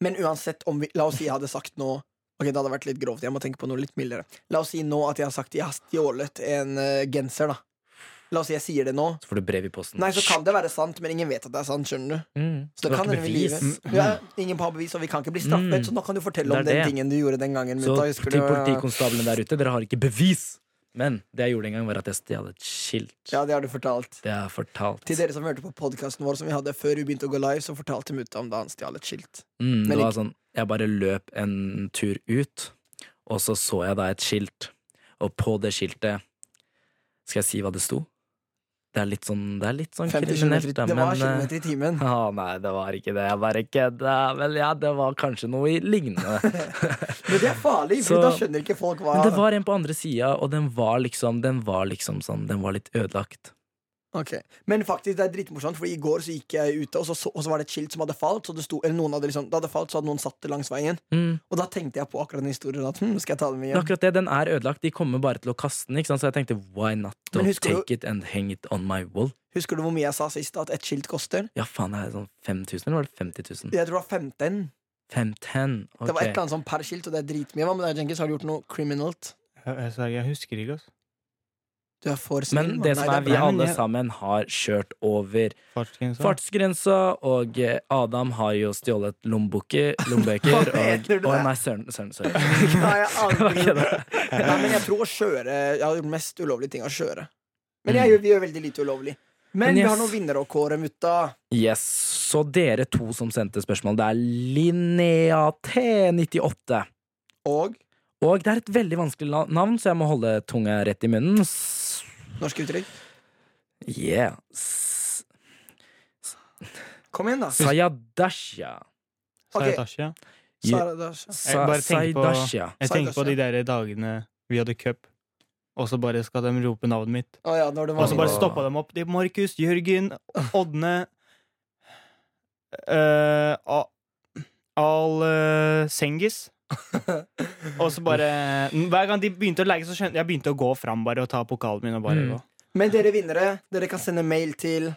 [SPEAKER 2] Men uansett om vi La oss si jeg hadde sagt nå Ok, det hadde vært litt grovt, jeg må tenke på noe litt mildere. La oss si nå at jeg har sagt jeg har stjålet en eh, genser, da. La oss si jeg sier det nå.
[SPEAKER 4] Så får du brev i posten.
[SPEAKER 2] Nei, så kan det være sant, men ingen vet at det er sant, skjønner du.
[SPEAKER 4] Mm.
[SPEAKER 2] Så det
[SPEAKER 4] var
[SPEAKER 2] kan
[SPEAKER 4] ikke
[SPEAKER 2] hende vi lyver.
[SPEAKER 4] bevis.
[SPEAKER 2] Ja, ingen har bevis, og vi kan ikke bli straffet,
[SPEAKER 4] Mm.
[SPEAKER 2] så nå kan du fortelle
[SPEAKER 4] Det
[SPEAKER 2] om
[SPEAKER 4] er
[SPEAKER 2] den
[SPEAKER 4] det.
[SPEAKER 2] tingen du gjorde den gangen.
[SPEAKER 4] Så
[SPEAKER 2] mutta. Husker
[SPEAKER 4] til
[SPEAKER 2] du, ja.
[SPEAKER 4] politikonstablene der ute, dere har ikke bevis! Men det jeg gjorde en gang, var at jeg stjal et skilt.
[SPEAKER 2] Ja, det har du fortalt.
[SPEAKER 4] Det er fortalt.
[SPEAKER 2] Til dere som hørte på podkasten vår som vi hadde før vi begynte å gå live, så fortalte mutta om da han stjal et skilt.
[SPEAKER 4] Mm,
[SPEAKER 2] Men
[SPEAKER 4] det var
[SPEAKER 2] ikke-
[SPEAKER 4] sånn, jeg bare løp en tur ut, og så så jeg da et skilt. Og på det skiltet Skal jeg si hva det sto? Det er litt sånn, det er litt sånn
[SPEAKER 2] 50 kilometer
[SPEAKER 4] kriminelt,
[SPEAKER 2] i-
[SPEAKER 4] da,
[SPEAKER 2] Det var
[SPEAKER 4] men eh,
[SPEAKER 2] kilometer i timen.
[SPEAKER 4] å, nei, det var ikke det. Jeg bare kødda. Men ja, det var kanskje noe i lignende.
[SPEAKER 2] Men det er farlig, for
[SPEAKER 4] Så-
[SPEAKER 2] da skjønner ikke folk hva
[SPEAKER 4] Men det var en på andre sida, og den var liksom Den var liksom sånn Den var litt ødelagt.
[SPEAKER 2] Ok, Men faktisk, det er dritmorsomt, for i går så gikk jeg ute, og så, så, og så var det et skilt som hadde falt. Så det sto, eller noen hadde liksom, det hadde falt, så hadde noen satt det langs veien.
[SPEAKER 4] Mm.
[SPEAKER 2] Og da tenkte jeg på akkurat den historien. At, hm, skal jeg ta det med
[SPEAKER 4] Men
[SPEAKER 2] hjem?
[SPEAKER 4] akkurat det, den er ødelagt. De kommer bare til å kaste den, ikke sant? så jeg tenkte why not?
[SPEAKER 2] Men
[SPEAKER 4] Don't
[SPEAKER 2] husker du-
[SPEAKER 4] take it and hang it on my wall.
[SPEAKER 2] Husker du hvor mye jeg sa sist at et skilt koster?
[SPEAKER 4] Ja, faen, er det sånn 5000, eller var det 50 000?
[SPEAKER 2] Jeg tror det var 15.
[SPEAKER 4] 510, ok.
[SPEAKER 2] Det var et eller annet sånn per skilt, og det er dritmye. Hva med deg, Jenkins? Har du gjort noe criminalt?
[SPEAKER 3] Jeg, Eh, jeg, jeg husker ikke, altså.
[SPEAKER 2] Du er for snill.
[SPEAKER 4] Men
[SPEAKER 2] mann.
[SPEAKER 4] det som
[SPEAKER 2] Nei,
[SPEAKER 4] er, vi
[SPEAKER 2] bra.
[SPEAKER 3] bra, men
[SPEAKER 4] alle
[SPEAKER 3] jeg-
[SPEAKER 4] sammen har kjørt over
[SPEAKER 3] Fartsgrensa.
[SPEAKER 4] fartsgrensa, og eh, Adam har jo stjålet lommeboker, lommebøker,
[SPEAKER 2] Hva mener
[SPEAKER 4] og
[SPEAKER 2] du det?
[SPEAKER 4] Å nei, søren, søren, sorry.
[SPEAKER 2] Nei, jeg aner
[SPEAKER 4] Hva er
[SPEAKER 2] ikke.
[SPEAKER 4] det?
[SPEAKER 2] Nei, men jeg tror å kjøre Jeg har gjort mest ulovlige ting å kjøre. Men jeg, gjør- vi gjør veldig lite ulovlig. Men
[SPEAKER 4] Mm. Men
[SPEAKER 2] vi
[SPEAKER 4] yes.
[SPEAKER 2] har noen vinnere å kåre, mutta.
[SPEAKER 4] Yes, så dere to som sendte spørsmål, det er Linnea T98.
[SPEAKER 2] Og
[SPEAKER 4] Og det er et veldig vanskelig la- navn, så jeg må holde tunga rett i munnen. S-
[SPEAKER 2] norske uttrykk.
[SPEAKER 4] Yeah. S-
[SPEAKER 2] Kom igjen, da.
[SPEAKER 4] Sayadasha.
[SPEAKER 3] Sa
[SPEAKER 2] Ok.
[SPEAKER 3] jeg Tasha?
[SPEAKER 2] Sara, da-
[SPEAKER 4] Sa
[SPEAKER 3] bare tenker på-
[SPEAKER 4] Sayadasha.
[SPEAKER 3] Jeg
[SPEAKER 2] Sa jeg
[SPEAKER 3] tenker på de der dagene vi hadde cup, og så bare skal de rope navnet mitt.
[SPEAKER 2] Å ja, når det
[SPEAKER 3] Og
[SPEAKER 2] var
[SPEAKER 3] så
[SPEAKER 4] Åh.
[SPEAKER 3] bare stoppa dem opp. Det er Markus, Jørgen, Ådne eh, A- Al eh, Sengis. Og så bare Hver gang de begynte å legge, så skjønte jeg begynte å gå fram bare og ta pokalen min og bare
[SPEAKER 4] Mm.
[SPEAKER 3] gå.
[SPEAKER 2] Men dere vinnere, dere kan sende mail til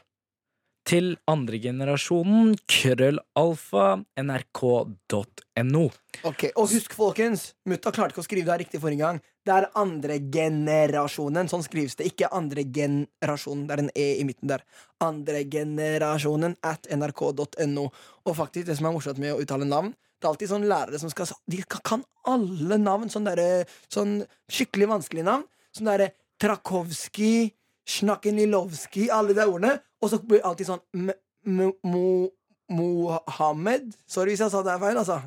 [SPEAKER 4] til andregenerasjonen krøllalfa nrk.no.
[SPEAKER 2] Ok, Og husk, folkens, mutta klarte ikke å skrive det her riktig forrige gang. Det er andregenerasjonen. Sånn skrives det. Ikke andregenerasjonen. Det er en e i midten der. Andregenerasjonen at nrk.no. Og faktisk, det som er morsomt med å uttale navn det er alltid sånne lærere som skal De kan- kan alle navn. Sånn derre Sånn skikkelig vanskelige navn. Sånn derre Trakowski, Snakkenilowski, alle de ordene. Og så blir det alltid sånn M- M- Mo- Mohammed. Sorry hvis jeg sa det er feil, altså.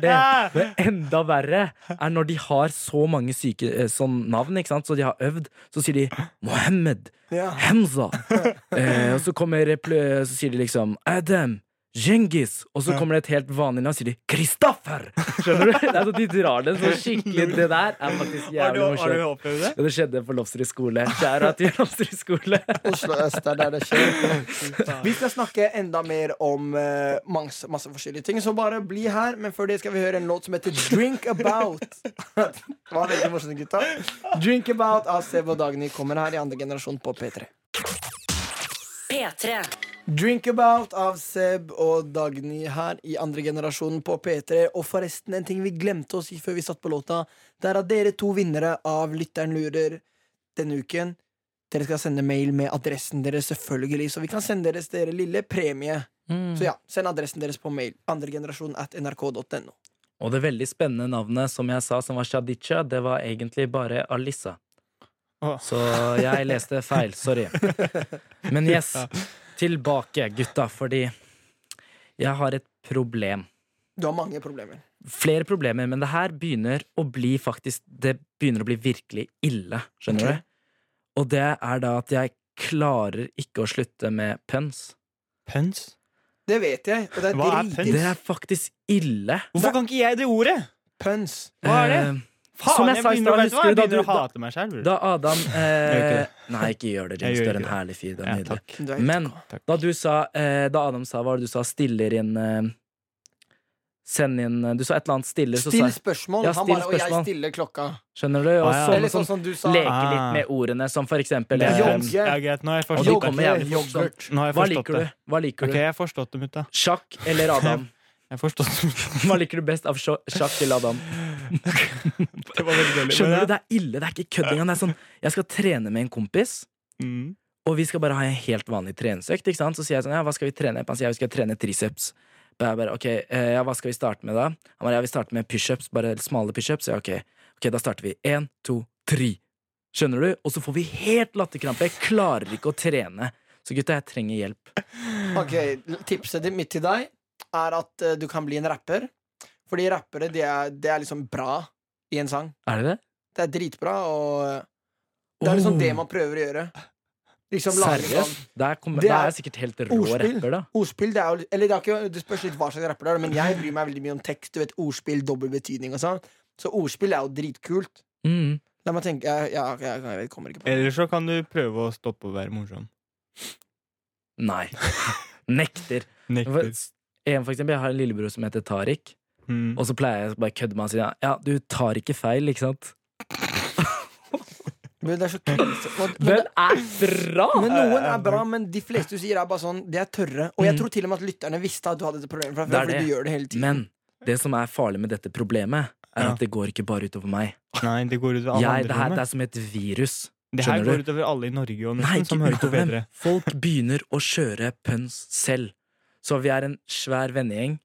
[SPEAKER 4] Det. Men enda verre er når de har så mange syke eh, sånn navn, ikke sant? så de har øvd, så sier de Mohammed,
[SPEAKER 2] Ja.
[SPEAKER 4] Hamza. Eh, og så kommer plø, så sier de liksom Adam, Djengis! Og så
[SPEAKER 3] Ja.
[SPEAKER 4] kommer det et helt vanlig navn, og sier de Kristoffer! Skjønner du? altså, de drar den så skikkelig. Det der er faktisk
[SPEAKER 3] Har du,
[SPEAKER 4] jævlig
[SPEAKER 3] har du
[SPEAKER 4] morsomt.
[SPEAKER 3] opplevd det?
[SPEAKER 4] Ja, Det skjedde på Lofsrud skole. Kjære til Lofsrud skole.
[SPEAKER 2] Oslo øst er der det skjer. Vi skal snakke enda mer om eh, masse, masse forskjellige ting, så bare bli her. Men før det skal vi høre en låt som heter Drink About. Det var veldig morsomt, gutta. Drink About av Seb og Dagny kommer her i andre generasjon på P3.
[SPEAKER 5] P3.
[SPEAKER 2] Drink About av Seb og Dagny her i andre generasjon på P3. Og forresten, en ting vi glemte å si før vi satt på låta, det er at dere to vinnere av Lytteren lurer denne uken Dere skal sende mail med adressen deres, selvfølgelig, så vi kan sende deres dere lille premie.
[SPEAKER 3] Mm.
[SPEAKER 2] Så ja, send adressen deres på mail. Andregenerasjon at nrk.no.
[SPEAKER 4] Og det veldig spennende navnet som jeg sa som var Shadicha, det var egentlig bare Alissa.
[SPEAKER 3] Åh.
[SPEAKER 4] Så jeg leste feil. Sorry. Men yes, tilbake, gutta, fordi jeg har et problem.
[SPEAKER 2] Du har mange problemer.
[SPEAKER 4] Flere problemer, men det her begynner å bli faktisk Det begynner å bli virkelig ille, skjønner
[SPEAKER 2] Ok.
[SPEAKER 4] du? Og det er da at jeg klarer ikke å slutte med pønns.
[SPEAKER 3] Pøns?
[SPEAKER 2] Det vet jeg, og det er
[SPEAKER 3] Hva er
[SPEAKER 2] dritings.
[SPEAKER 3] pønsk?
[SPEAKER 4] Det er faktisk ille.
[SPEAKER 3] Hvorfor kan ikke jeg det ordet?
[SPEAKER 2] Pøns.
[SPEAKER 3] Hva er det?
[SPEAKER 4] Eh,
[SPEAKER 3] Faen,
[SPEAKER 4] Som jeg
[SPEAKER 3] jeg,
[SPEAKER 4] sa i
[SPEAKER 3] begynner, å-
[SPEAKER 4] stad,
[SPEAKER 3] vet du hva?
[SPEAKER 4] husker
[SPEAKER 3] jeg
[SPEAKER 4] du da
[SPEAKER 3] begynner
[SPEAKER 4] du-
[SPEAKER 3] å hate meg selv.
[SPEAKER 4] Da Adam eh,
[SPEAKER 3] gjør ikke
[SPEAKER 4] Nei, ikke gjør
[SPEAKER 3] Jeg
[SPEAKER 4] det, James.
[SPEAKER 3] gjør
[SPEAKER 4] Du er en
[SPEAKER 3] ikke
[SPEAKER 4] herlig fyr. Du er
[SPEAKER 3] Ja,
[SPEAKER 4] nydelig.
[SPEAKER 3] takk.
[SPEAKER 2] Du er helt
[SPEAKER 4] Men
[SPEAKER 3] Takk.
[SPEAKER 4] da du sa eh, Da Adam sa hva var det du sa, stiller inn eh, Send inn eh, Du sa et eller annet stiller, så sa
[SPEAKER 2] Still
[SPEAKER 4] jeg
[SPEAKER 2] spørsmål.
[SPEAKER 4] Ja,
[SPEAKER 2] Han
[SPEAKER 4] still
[SPEAKER 2] bare 'og jeg
[SPEAKER 4] spørsmål.
[SPEAKER 2] stiller klokka'.
[SPEAKER 4] Skjønner du? Og
[SPEAKER 3] Ah, ja.
[SPEAKER 4] sånne
[SPEAKER 2] Eller sånn
[SPEAKER 4] som
[SPEAKER 2] som du sa.
[SPEAKER 4] leker
[SPEAKER 3] Ah.
[SPEAKER 4] litt med ordene, som for eksempel
[SPEAKER 3] Det er
[SPEAKER 4] eh,
[SPEAKER 2] Jogge.
[SPEAKER 3] pøns. Ja, greit, nå har jeg
[SPEAKER 4] Og
[SPEAKER 3] forstått
[SPEAKER 4] de
[SPEAKER 2] Yoghurt.
[SPEAKER 4] kommer
[SPEAKER 3] det.
[SPEAKER 4] jævlig fort sånn.
[SPEAKER 3] Nå har jeg
[SPEAKER 4] Hva
[SPEAKER 3] forstått
[SPEAKER 4] liker
[SPEAKER 3] det.
[SPEAKER 4] du? Hva liker
[SPEAKER 3] Ok,
[SPEAKER 4] du?
[SPEAKER 3] jeg har forstått dem ut, da.
[SPEAKER 4] Sjakk eller Adam?
[SPEAKER 3] Jeg har forstått dem ut.
[SPEAKER 4] Hva liker du best av sjakk sjakk eller Adam?
[SPEAKER 3] Det var veldig dårlig.
[SPEAKER 4] Skjønner du, det er ille. Det er ikke kødd engang. Det er sånn Jeg skal trene med en kompis.
[SPEAKER 3] Mm.
[SPEAKER 4] Og vi skal bare ha en helt vanlig treningsøkt. Ikke sant? Så sier jeg sånn, ja, hva skal vi trene? Han sier, ja, vi skal trene triceps. Bare, bare, ok, eh, ja, hva skal vi starte med da? Han bare, ja, vi starter med pushups, bare smale pushups. Ja, ok, ok, da starter vi. En, to, tre. Skjønner du? Og så får vi helt latterkrampe. Jeg klarer ikke å trene. Så gutta, jeg trenger hjelp.
[SPEAKER 2] Ok, Tipset ditt- mitt til deg er at eh, du kan bli en rapper. Fordi rappere, det er, det er liksom bra i en sang.
[SPEAKER 4] Er det det?
[SPEAKER 2] Det er dritbra, og eh, det er liksom
[SPEAKER 4] Oh.
[SPEAKER 2] det man prøver å gjøre. Liksom lage sånn
[SPEAKER 4] Seriøst? Da er,
[SPEAKER 2] Det
[SPEAKER 4] det er
[SPEAKER 2] er
[SPEAKER 4] jeg sikkert helt rå
[SPEAKER 2] ordspill.
[SPEAKER 4] rapper, da.
[SPEAKER 2] Ordspill, det er jo Eller det, er ikke, det spørs litt hva slags rapper det er, men jeg bryr meg veldig mye om tekst. Du vet, Ordspill, dobbel betydning og sånn. Så ordspill er jo dritkult.
[SPEAKER 4] Mm.
[SPEAKER 2] La meg tenke Jeg, jeg, jeg, jeg vet- kommer ikke på det.
[SPEAKER 3] Eller så kan du prøve å stoppe å være morsom.
[SPEAKER 4] Nei. Nekter. For,
[SPEAKER 3] Nekter.
[SPEAKER 4] en, for eksempel, jeg har en lillebror som heter Tariq.
[SPEAKER 3] Mm.
[SPEAKER 4] Og så pleier jeg å bare kødde med han og si ja, ja, du tar ikke feil, ikke sant?
[SPEAKER 2] Men det er så krise. Og, men,
[SPEAKER 4] Den er bra!
[SPEAKER 2] men noen er bra, men de fleste du sier, er bare sånn De er tørre. Og jeg tror til og med at lytterne visste at du hadde dette problemet fra
[SPEAKER 4] Det er
[SPEAKER 2] før, fordi
[SPEAKER 4] det.
[SPEAKER 2] du gjør det hele tiden.
[SPEAKER 4] Men det som er farlig med dette problemet, er
[SPEAKER 3] Ja.
[SPEAKER 4] at det går ikke bare utover meg.
[SPEAKER 3] Nei, det går utover alle
[SPEAKER 4] Jeg, det,
[SPEAKER 3] andre.
[SPEAKER 4] her,
[SPEAKER 3] med.
[SPEAKER 4] det er som et virus.
[SPEAKER 3] det her
[SPEAKER 4] skjønner
[SPEAKER 3] går
[SPEAKER 4] du?
[SPEAKER 3] utover alle i Norge og
[SPEAKER 4] Nei,
[SPEAKER 3] nesten, sånn
[SPEAKER 4] ikke
[SPEAKER 3] som hører på
[SPEAKER 4] utover
[SPEAKER 3] bedre.
[SPEAKER 4] dem. Folk begynner å kjøre pøns selv. Så vi er en svær vennegjeng.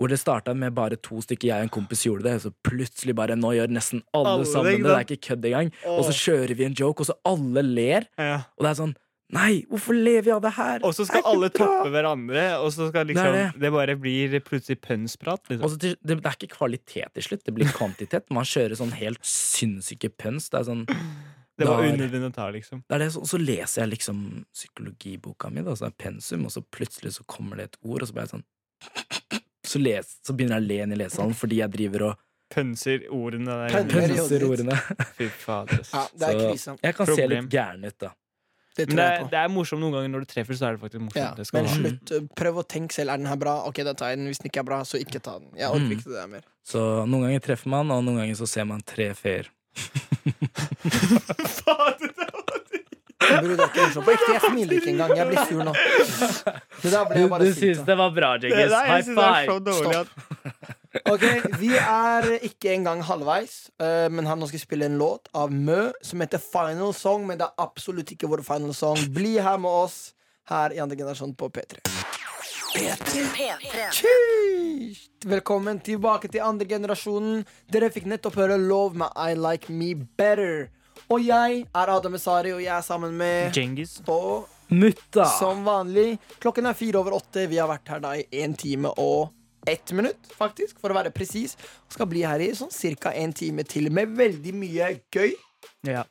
[SPEAKER 4] Hvor det starta med bare to stykker, jeg og en kompis gjorde det. Så plutselig bare nå gjør nesten alle,
[SPEAKER 3] Alle,
[SPEAKER 4] sammen
[SPEAKER 3] ikke
[SPEAKER 4] det. Det er
[SPEAKER 3] sant?
[SPEAKER 4] ikke kødd engang. Og så kjører vi en joke, og så alle ler.
[SPEAKER 3] Ja.
[SPEAKER 4] Og det er sånn Nei, hvorfor lever jeg av det her?
[SPEAKER 3] Og så skal
[SPEAKER 4] Det er ikke
[SPEAKER 3] alle
[SPEAKER 4] bra!»
[SPEAKER 3] toppe hverandre, og så skal liksom
[SPEAKER 4] Det
[SPEAKER 3] Det,
[SPEAKER 4] er
[SPEAKER 3] bare blir plutselig pønsprat. Liksom.
[SPEAKER 4] Og så til, det, det er ikke kvalitet til slutt, det blir kvantitet. Man kjører sånn helt sinnssyke pøns. Det er sånn
[SPEAKER 3] Det var
[SPEAKER 4] da-
[SPEAKER 3] unødvendig å ta, liksom.
[SPEAKER 4] det er det, så, så leser jeg liksom psykologiboka mi, da, så er det pensum, og så plutselig så kommer det et ord, og så blir jeg sånn Så, les, så begynner jeg å le inn i lesesalen fordi jeg driver og
[SPEAKER 3] Pønser ordene der.
[SPEAKER 2] Pønser.
[SPEAKER 3] Pønser.
[SPEAKER 4] pønser ordene.
[SPEAKER 3] Fy fader. ass.
[SPEAKER 2] Ja, det er
[SPEAKER 4] Så-
[SPEAKER 2] krise.
[SPEAKER 4] Jeg kan se
[SPEAKER 3] Problem.
[SPEAKER 4] litt gæren ut, da.
[SPEAKER 2] Det
[SPEAKER 3] Men
[SPEAKER 2] tror
[SPEAKER 3] det,
[SPEAKER 2] jeg
[SPEAKER 3] er-
[SPEAKER 2] på.
[SPEAKER 3] det er morsomt noen ganger når du treffer, så er det faktisk morsomt.
[SPEAKER 2] Ja,
[SPEAKER 3] Det skal
[SPEAKER 2] men
[SPEAKER 3] du ha.
[SPEAKER 2] slutt. eh, Prøv å tenke selv. Er den her bra? Ok, da tar jeg den. Hvis den ikke er bra, så ikke ta den. Jeg orker
[SPEAKER 4] Mm.
[SPEAKER 2] ikke det der mer.
[SPEAKER 4] Så noen ganger treffer man, og noen ganger så ser man tre feer.
[SPEAKER 3] Fader, det var-
[SPEAKER 2] Bro, det er ikke morsomt. På ekte, jeg smiler ikke engang. Jeg blir sur nå. Det der ble jeg bare sint av.
[SPEAKER 4] det var bra,
[SPEAKER 3] Det- nei, jeg synes det er så dårlig at
[SPEAKER 2] Ok, vi er ikke engang halvveis, eh, men han nå skal spille en låt av Mø som heter Final Song, men det er absolutt ikke vår final song. Bli her med oss her i andre generasjon på P3.
[SPEAKER 5] P3.
[SPEAKER 2] Sheesh! Velkommen tilbake til andre generasjonen. Dere fikk nettopp høre Love med I Like Me Better. Og jeg er Adam Esari, og jeg er sammen med
[SPEAKER 3] Djengis.
[SPEAKER 2] Og
[SPEAKER 4] Mutta!
[SPEAKER 2] som vanlig, klokken er fire over åtte. Vi har vært her da i en time og ett minutt, faktisk, for å være presis. Og skal bli her i sånn ca. en time til med veldig mye gøy.
[SPEAKER 3] Ja,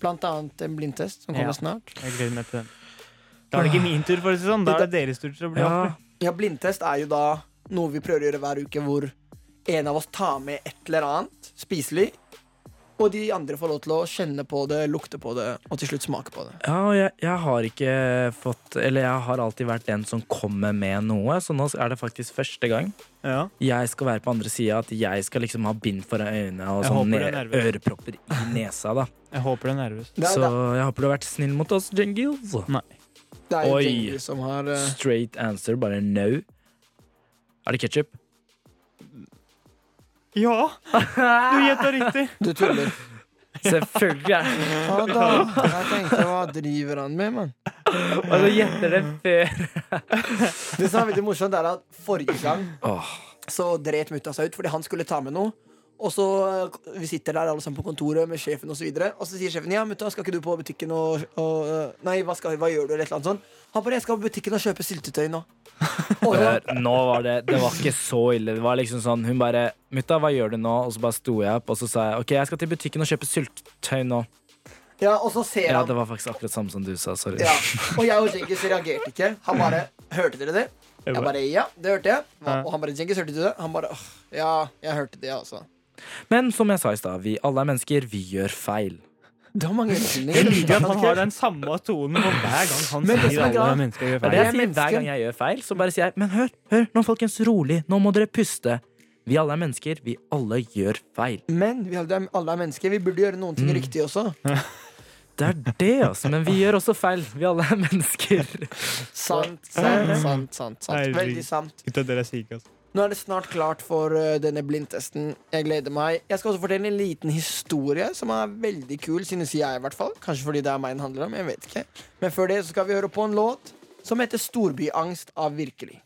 [SPEAKER 2] Blant annet en blindtest som kommer
[SPEAKER 3] Ja.
[SPEAKER 2] snart.
[SPEAKER 3] jeg gleder meg til den. Da er det ikke min tur, for å si det sånn. Da er det deres tur til å bli
[SPEAKER 4] Ja,
[SPEAKER 3] offer.
[SPEAKER 2] Ja, blindtest er jo da noe vi prøver å gjøre hver uke, hvor en av oss tar med et eller annet spiselig, og de andre får lov til å kjenne på det, lukte på det, og til slutt smake på det.
[SPEAKER 4] Ja, og jeg, jeg har ikke fått Eller jeg har alltid vært den som kommer med noe, så nå er det faktisk første gang
[SPEAKER 3] Ja.
[SPEAKER 4] jeg skal være på andre sida, at jeg skal liksom ha bind foran øynene og
[SPEAKER 3] Jeg
[SPEAKER 4] sånn
[SPEAKER 3] håper du er
[SPEAKER 4] ne-
[SPEAKER 3] nervøs.
[SPEAKER 4] ørepropper i nesa, da.
[SPEAKER 3] Jeg håper du er nervøs.
[SPEAKER 2] Det er,
[SPEAKER 4] Så jeg håper du har vært snill mot oss, Jengils.
[SPEAKER 2] det, det er jo
[SPEAKER 4] Oi.
[SPEAKER 2] Jenny som har eh,
[SPEAKER 4] Straight answer, bare no. Er det ketsjup?
[SPEAKER 3] Ja! Du gjetta riktig.
[SPEAKER 2] Du tuller.
[SPEAKER 4] Selvfølgelig er det
[SPEAKER 2] Ja da. Jeg tenkte, hva driver han med, mann?
[SPEAKER 4] Og du gjetter det før.
[SPEAKER 2] Det som er veldig morsomt, er at forrige gang
[SPEAKER 4] Åh,
[SPEAKER 2] så dret mutta seg ut fordi han skulle ta med noe. Og så eh, Vi sitter der alle sammen på kontoret med sjefen, og så, videre og så sier sjefen ja, mutta, skal ikke du på butikken og, og eh, Nei, hva, skal, hva gjør du? Eller et eller annet sånt. Han bare jeg skal på butikken og kjøpe syltetøy nå. Og det var-
[SPEAKER 4] hør, Eh, nå var det Det var ikke så ille. Det var liksom sånn Hun bare 'Mutta, hva gjør du nå?' Og så bare sto jeg opp, og så sa jeg 'OK, jeg skal til butikken og kjøpe syltetøy nå'.
[SPEAKER 2] ja, og så ser
[SPEAKER 4] Ja,
[SPEAKER 2] han
[SPEAKER 4] det var faktisk akkurat samme som du sa. Sorry.
[SPEAKER 2] ja. Og jeg og Djengis reagerte ikke. Han bare Hørte dere det? Jeg bare ja, det hørte jeg. Hva- Og han bare Djengis, hørte du det? Han bare «Åh, ja, jeg hørte det, altså.
[SPEAKER 4] Men som jeg sa i stad, vi alle er mennesker. Vi gjør feil.
[SPEAKER 2] Det var mange
[SPEAKER 3] Jeg liker at
[SPEAKER 2] unnskyldninger.
[SPEAKER 3] han har den samme tonen på hver gang han
[SPEAKER 2] Men det som
[SPEAKER 3] sier
[SPEAKER 2] er
[SPEAKER 3] alle
[SPEAKER 2] glad-
[SPEAKER 3] mennesker gjør
[SPEAKER 4] Det
[SPEAKER 3] feil.
[SPEAKER 4] er det
[SPEAKER 2] er
[SPEAKER 4] jeg sier
[SPEAKER 2] mennesker.
[SPEAKER 4] hver gang jeg gjør feil, så bare sier jeg Men hør, hør, nå folkens, rolig, nå må dere puste Vi alle er mennesker, vi alle gjør feil
[SPEAKER 2] Men vi alle er- alle er mennesker. Vi burde gjøre noen ting
[SPEAKER 3] Mm.
[SPEAKER 2] riktig også.
[SPEAKER 4] Det er det, altså, men vi gjør også feil Vi alle er mennesker
[SPEAKER 2] Sant, sant, sant. sant, sant.
[SPEAKER 3] Herregud.
[SPEAKER 2] Veldig sant.
[SPEAKER 3] Gutta, dere er syke, altså.
[SPEAKER 2] Nå er det snart klart for eh, denne blindtesten. Jeg gleder meg. Jeg skal også fortelle en liten historie som er veldig kul, synes jeg i hvert fall. Kanskje fordi det er meg den handler om. jeg vet ikke. Men før det så skal vi høre på en låt som heter 'Storbyangst av virkelig'.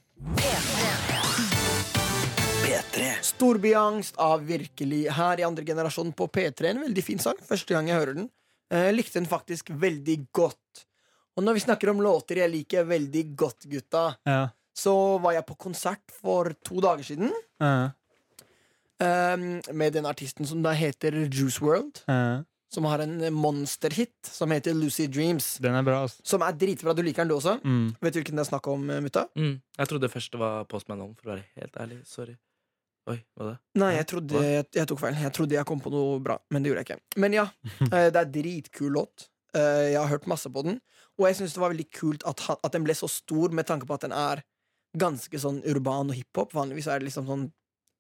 [SPEAKER 2] Storbyangst av virkelig her i andre generasjon på P3. En veldig fin sang. Første gang jeg hører den. Eh, likte den faktisk veldig godt. Og når vi snakker om låter jeg liker veldig godt, gutta,
[SPEAKER 3] Ja.
[SPEAKER 2] så var jeg på konsert for to dager siden
[SPEAKER 3] Ja.
[SPEAKER 2] ehm, med den artisten som da heter Juice World,
[SPEAKER 3] Ja.
[SPEAKER 2] som har en monsterhit som heter Lucy Dreams.
[SPEAKER 3] Den er bra, altså.
[SPEAKER 2] Som er dritbra. Du liker den, du også?
[SPEAKER 3] Mm.
[SPEAKER 2] Vet du hvilken det er snakk om, eh, mutta?
[SPEAKER 4] Mm. Jeg trodde først det var Postman Home, for å være helt ærlig Sorry Oi, hva det?
[SPEAKER 2] Nei, jeg trodde jeg, jeg tok feil. Jeg trodde jeg kom på noe bra, men det gjorde jeg ikke. Men ja, eh, det er dritkul låt. Eh, Jeg har hørt masse på den, og jeg syns det var veldig kult at, han, at den ble så stor, med tanke på at den er ganske sånn urban og hiphop. Vanligvis er det liksom sånn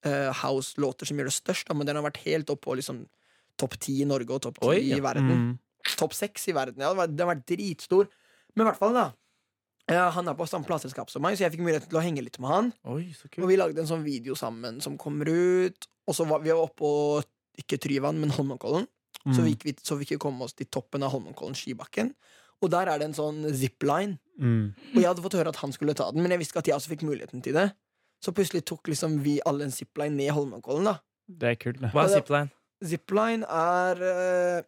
[SPEAKER 2] eh, house-låter som gjør det størst, da, men den har vært helt opp på liksom topp ti i Norge og topp ti
[SPEAKER 4] Oi, ja.
[SPEAKER 2] i verden
[SPEAKER 3] Mm.
[SPEAKER 2] topp seks i verden. Ja, den var- den har vært dritstor. Men i hvert fall, da. eh, han er på samme plateselskap som meg, så jeg fikk muligheten til å henge litt med han.
[SPEAKER 4] Oi, så
[SPEAKER 2] Og
[SPEAKER 4] kult
[SPEAKER 2] vi lagde en sånn video sammen som kommer ut. Og så var vi var oppe på ikke Tryvann, men Holmenkollen.
[SPEAKER 3] mm,
[SPEAKER 4] Mm.
[SPEAKER 2] Så, vi gikk, vi- så vi ikke kom oss til toppen av Holmenkollen skibakken. Og der er det en sånn zipline.
[SPEAKER 3] Mm.
[SPEAKER 2] Og jeg hadde fått høre at han skulle ta den, men jeg visste ikke at jeg også fikk muligheten til det. Så plutselig tok liksom vi alle en zipline ned Holmenkollen, da.
[SPEAKER 3] Det er kult, det.
[SPEAKER 4] Hva er zipline?
[SPEAKER 2] Zipline er eh,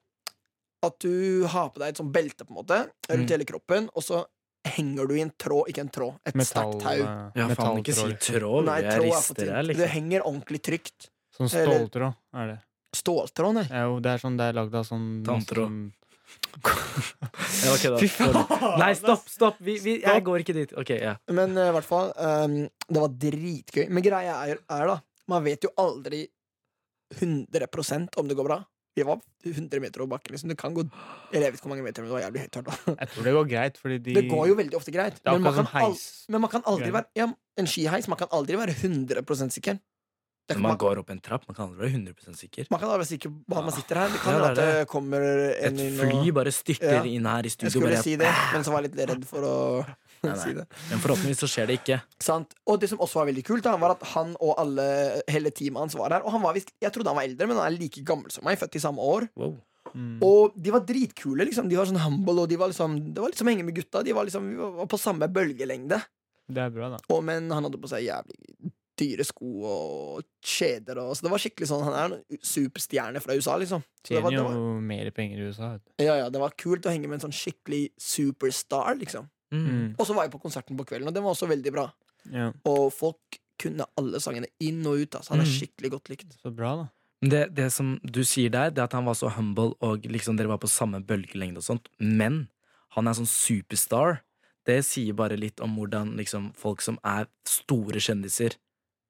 [SPEAKER 2] at du har på deg et sånt belte på en måte rundt
[SPEAKER 4] Mm.
[SPEAKER 2] hele kroppen, og så henger du i en tråd, ikke en tråd, et
[SPEAKER 3] Metall,
[SPEAKER 2] sterkt tau.
[SPEAKER 3] eh,
[SPEAKER 4] Ja, faen ikke si
[SPEAKER 3] metalltråd.
[SPEAKER 4] tråd
[SPEAKER 2] Nei,
[SPEAKER 4] Jeg
[SPEAKER 2] tråd er for
[SPEAKER 4] rister her,
[SPEAKER 2] tynt. Det
[SPEAKER 4] liksom
[SPEAKER 2] henger ordentlig trygt.
[SPEAKER 3] Sånn
[SPEAKER 2] Eller-
[SPEAKER 3] ståltråd er det.
[SPEAKER 2] Ståltråd, nei.
[SPEAKER 3] Ja, jo, det er sånn det er lagd av sånn
[SPEAKER 4] Tanntråd.
[SPEAKER 3] sånn-
[SPEAKER 4] Ja, ok
[SPEAKER 3] Fy
[SPEAKER 4] da.
[SPEAKER 3] faen!
[SPEAKER 4] Nei, stopp, stopp vi, vi, Jeg går ikke dit Ok, ja
[SPEAKER 2] Men eh, i hvert fall, ehm, det var dritgøy. Men greia er, er da, man vet jo aldri 100 om det går bra. Vi var 100 meter over bakken, liksom. Det kan gå Eller jeg vet ikke hvor mange meter, men det var jævlig høyt. da.
[SPEAKER 3] Jeg tror det går greit, fordi de
[SPEAKER 2] Det går jo veldig ofte greit.
[SPEAKER 3] Det er
[SPEAKER 2] men man
[SPEAKER 3] akkurat som
[SPEAKER 2] kan al-
[SPEAKER 3] heis.
[SPEAKER 2] Men man kan aldri
[SPEAKER 3] Greier.
[SPEAKER 2] være ja, En skiheis, man kan aldri være 100 sikker. Det kan
[SPEAKER 4] Man
[SPEAKER 2] man,
[SPEAKER 4] går opp en trapp, man kan aldri være 100% sikker
[SPEAKER 2] man kan aldri være sikker på at man sitter her. Det kan
[SPEAKER 4] Ja,
[SPEAKER 2] være
[SPEAKER 4] det er
[SPEAKER 2] at det kommer en
[SPEAKER 4] Et
[SPEAKER 2] inn
[SPEAKER 4] fly
[SPEAKER 2] og
[SPEAKER 4] bare styrter
[SPEAKER 2] Ja.
[SPEAKER 4] inn her i
[SPEAKER 2] Jeg
[SPEAKER 4] studio
[SPEAKER 2] skulle
[SPEAKER 4] bare,
[SPEAKER 2] si det, men så var jeg litt redd for å
[SPEAKER 4] Nei,
[SPEAKER 2] si
[SPEAKER 4] nei.
[SPEAKER 2] det.
[SPEAKER 4] Men forhåpentligvis så skjer det ikke
[SPEAKER 2] Sant. Og det som også var veldig kult, da, var at han og alle, hele teamet hans var her. Og han var visst, jeg trodde han var eldre, men han er like gammel som meg, født i samme år.
[SPEAKER 4] Wow
[SPEAKER 3] Mm.
[SPEAKER 2] Og de var dritkule, liksom. De var sånn humble, og de var liksom, det var liksom henge med gutta. De var liksom, vi var på samme bølgelengde.
[SPEAKER 3] Det er bra, da.
[SPEAKER 2] Og, men han hadde på seg jævlig dyre sko og kjeder. Og, så det var skikkelig sånn Han er en superstjerne fra USA, liksom. Så det
[SPEAKER 3] Tjener
[SPEAKER 2] var, det
[SPEAKER 3] jo
[SPEAKER 2] var,
[SPEAKER 3] mer penger i USA. Vet du.
[SPEAKER 2] ja, ja, det var kult å henge med en sånn skikkelig superstar, liksom.
[SPEAKER 4] Mm.
[SPEAKER 2] Og så var jeg på konserten på kvelden, og den var også veldig bra.
[SPEAKER 3] Ja,
[SPEAKER 2] Og folk kunne alle sangene inn og ut. Altså. Han er
[SPEAKER 3] Mm.
[SPEAKER 2] skikkelig godt likt.
[SPEAKER 3] så bra, da.
[SPEAKER 4] Det, det som du sier der, det er at han var så humble, og liksom dere var på samme bølgelengde og sånt, men han er sånn superstar. Det sier bare litt om hvordan liksom, folk som er store kjendiser,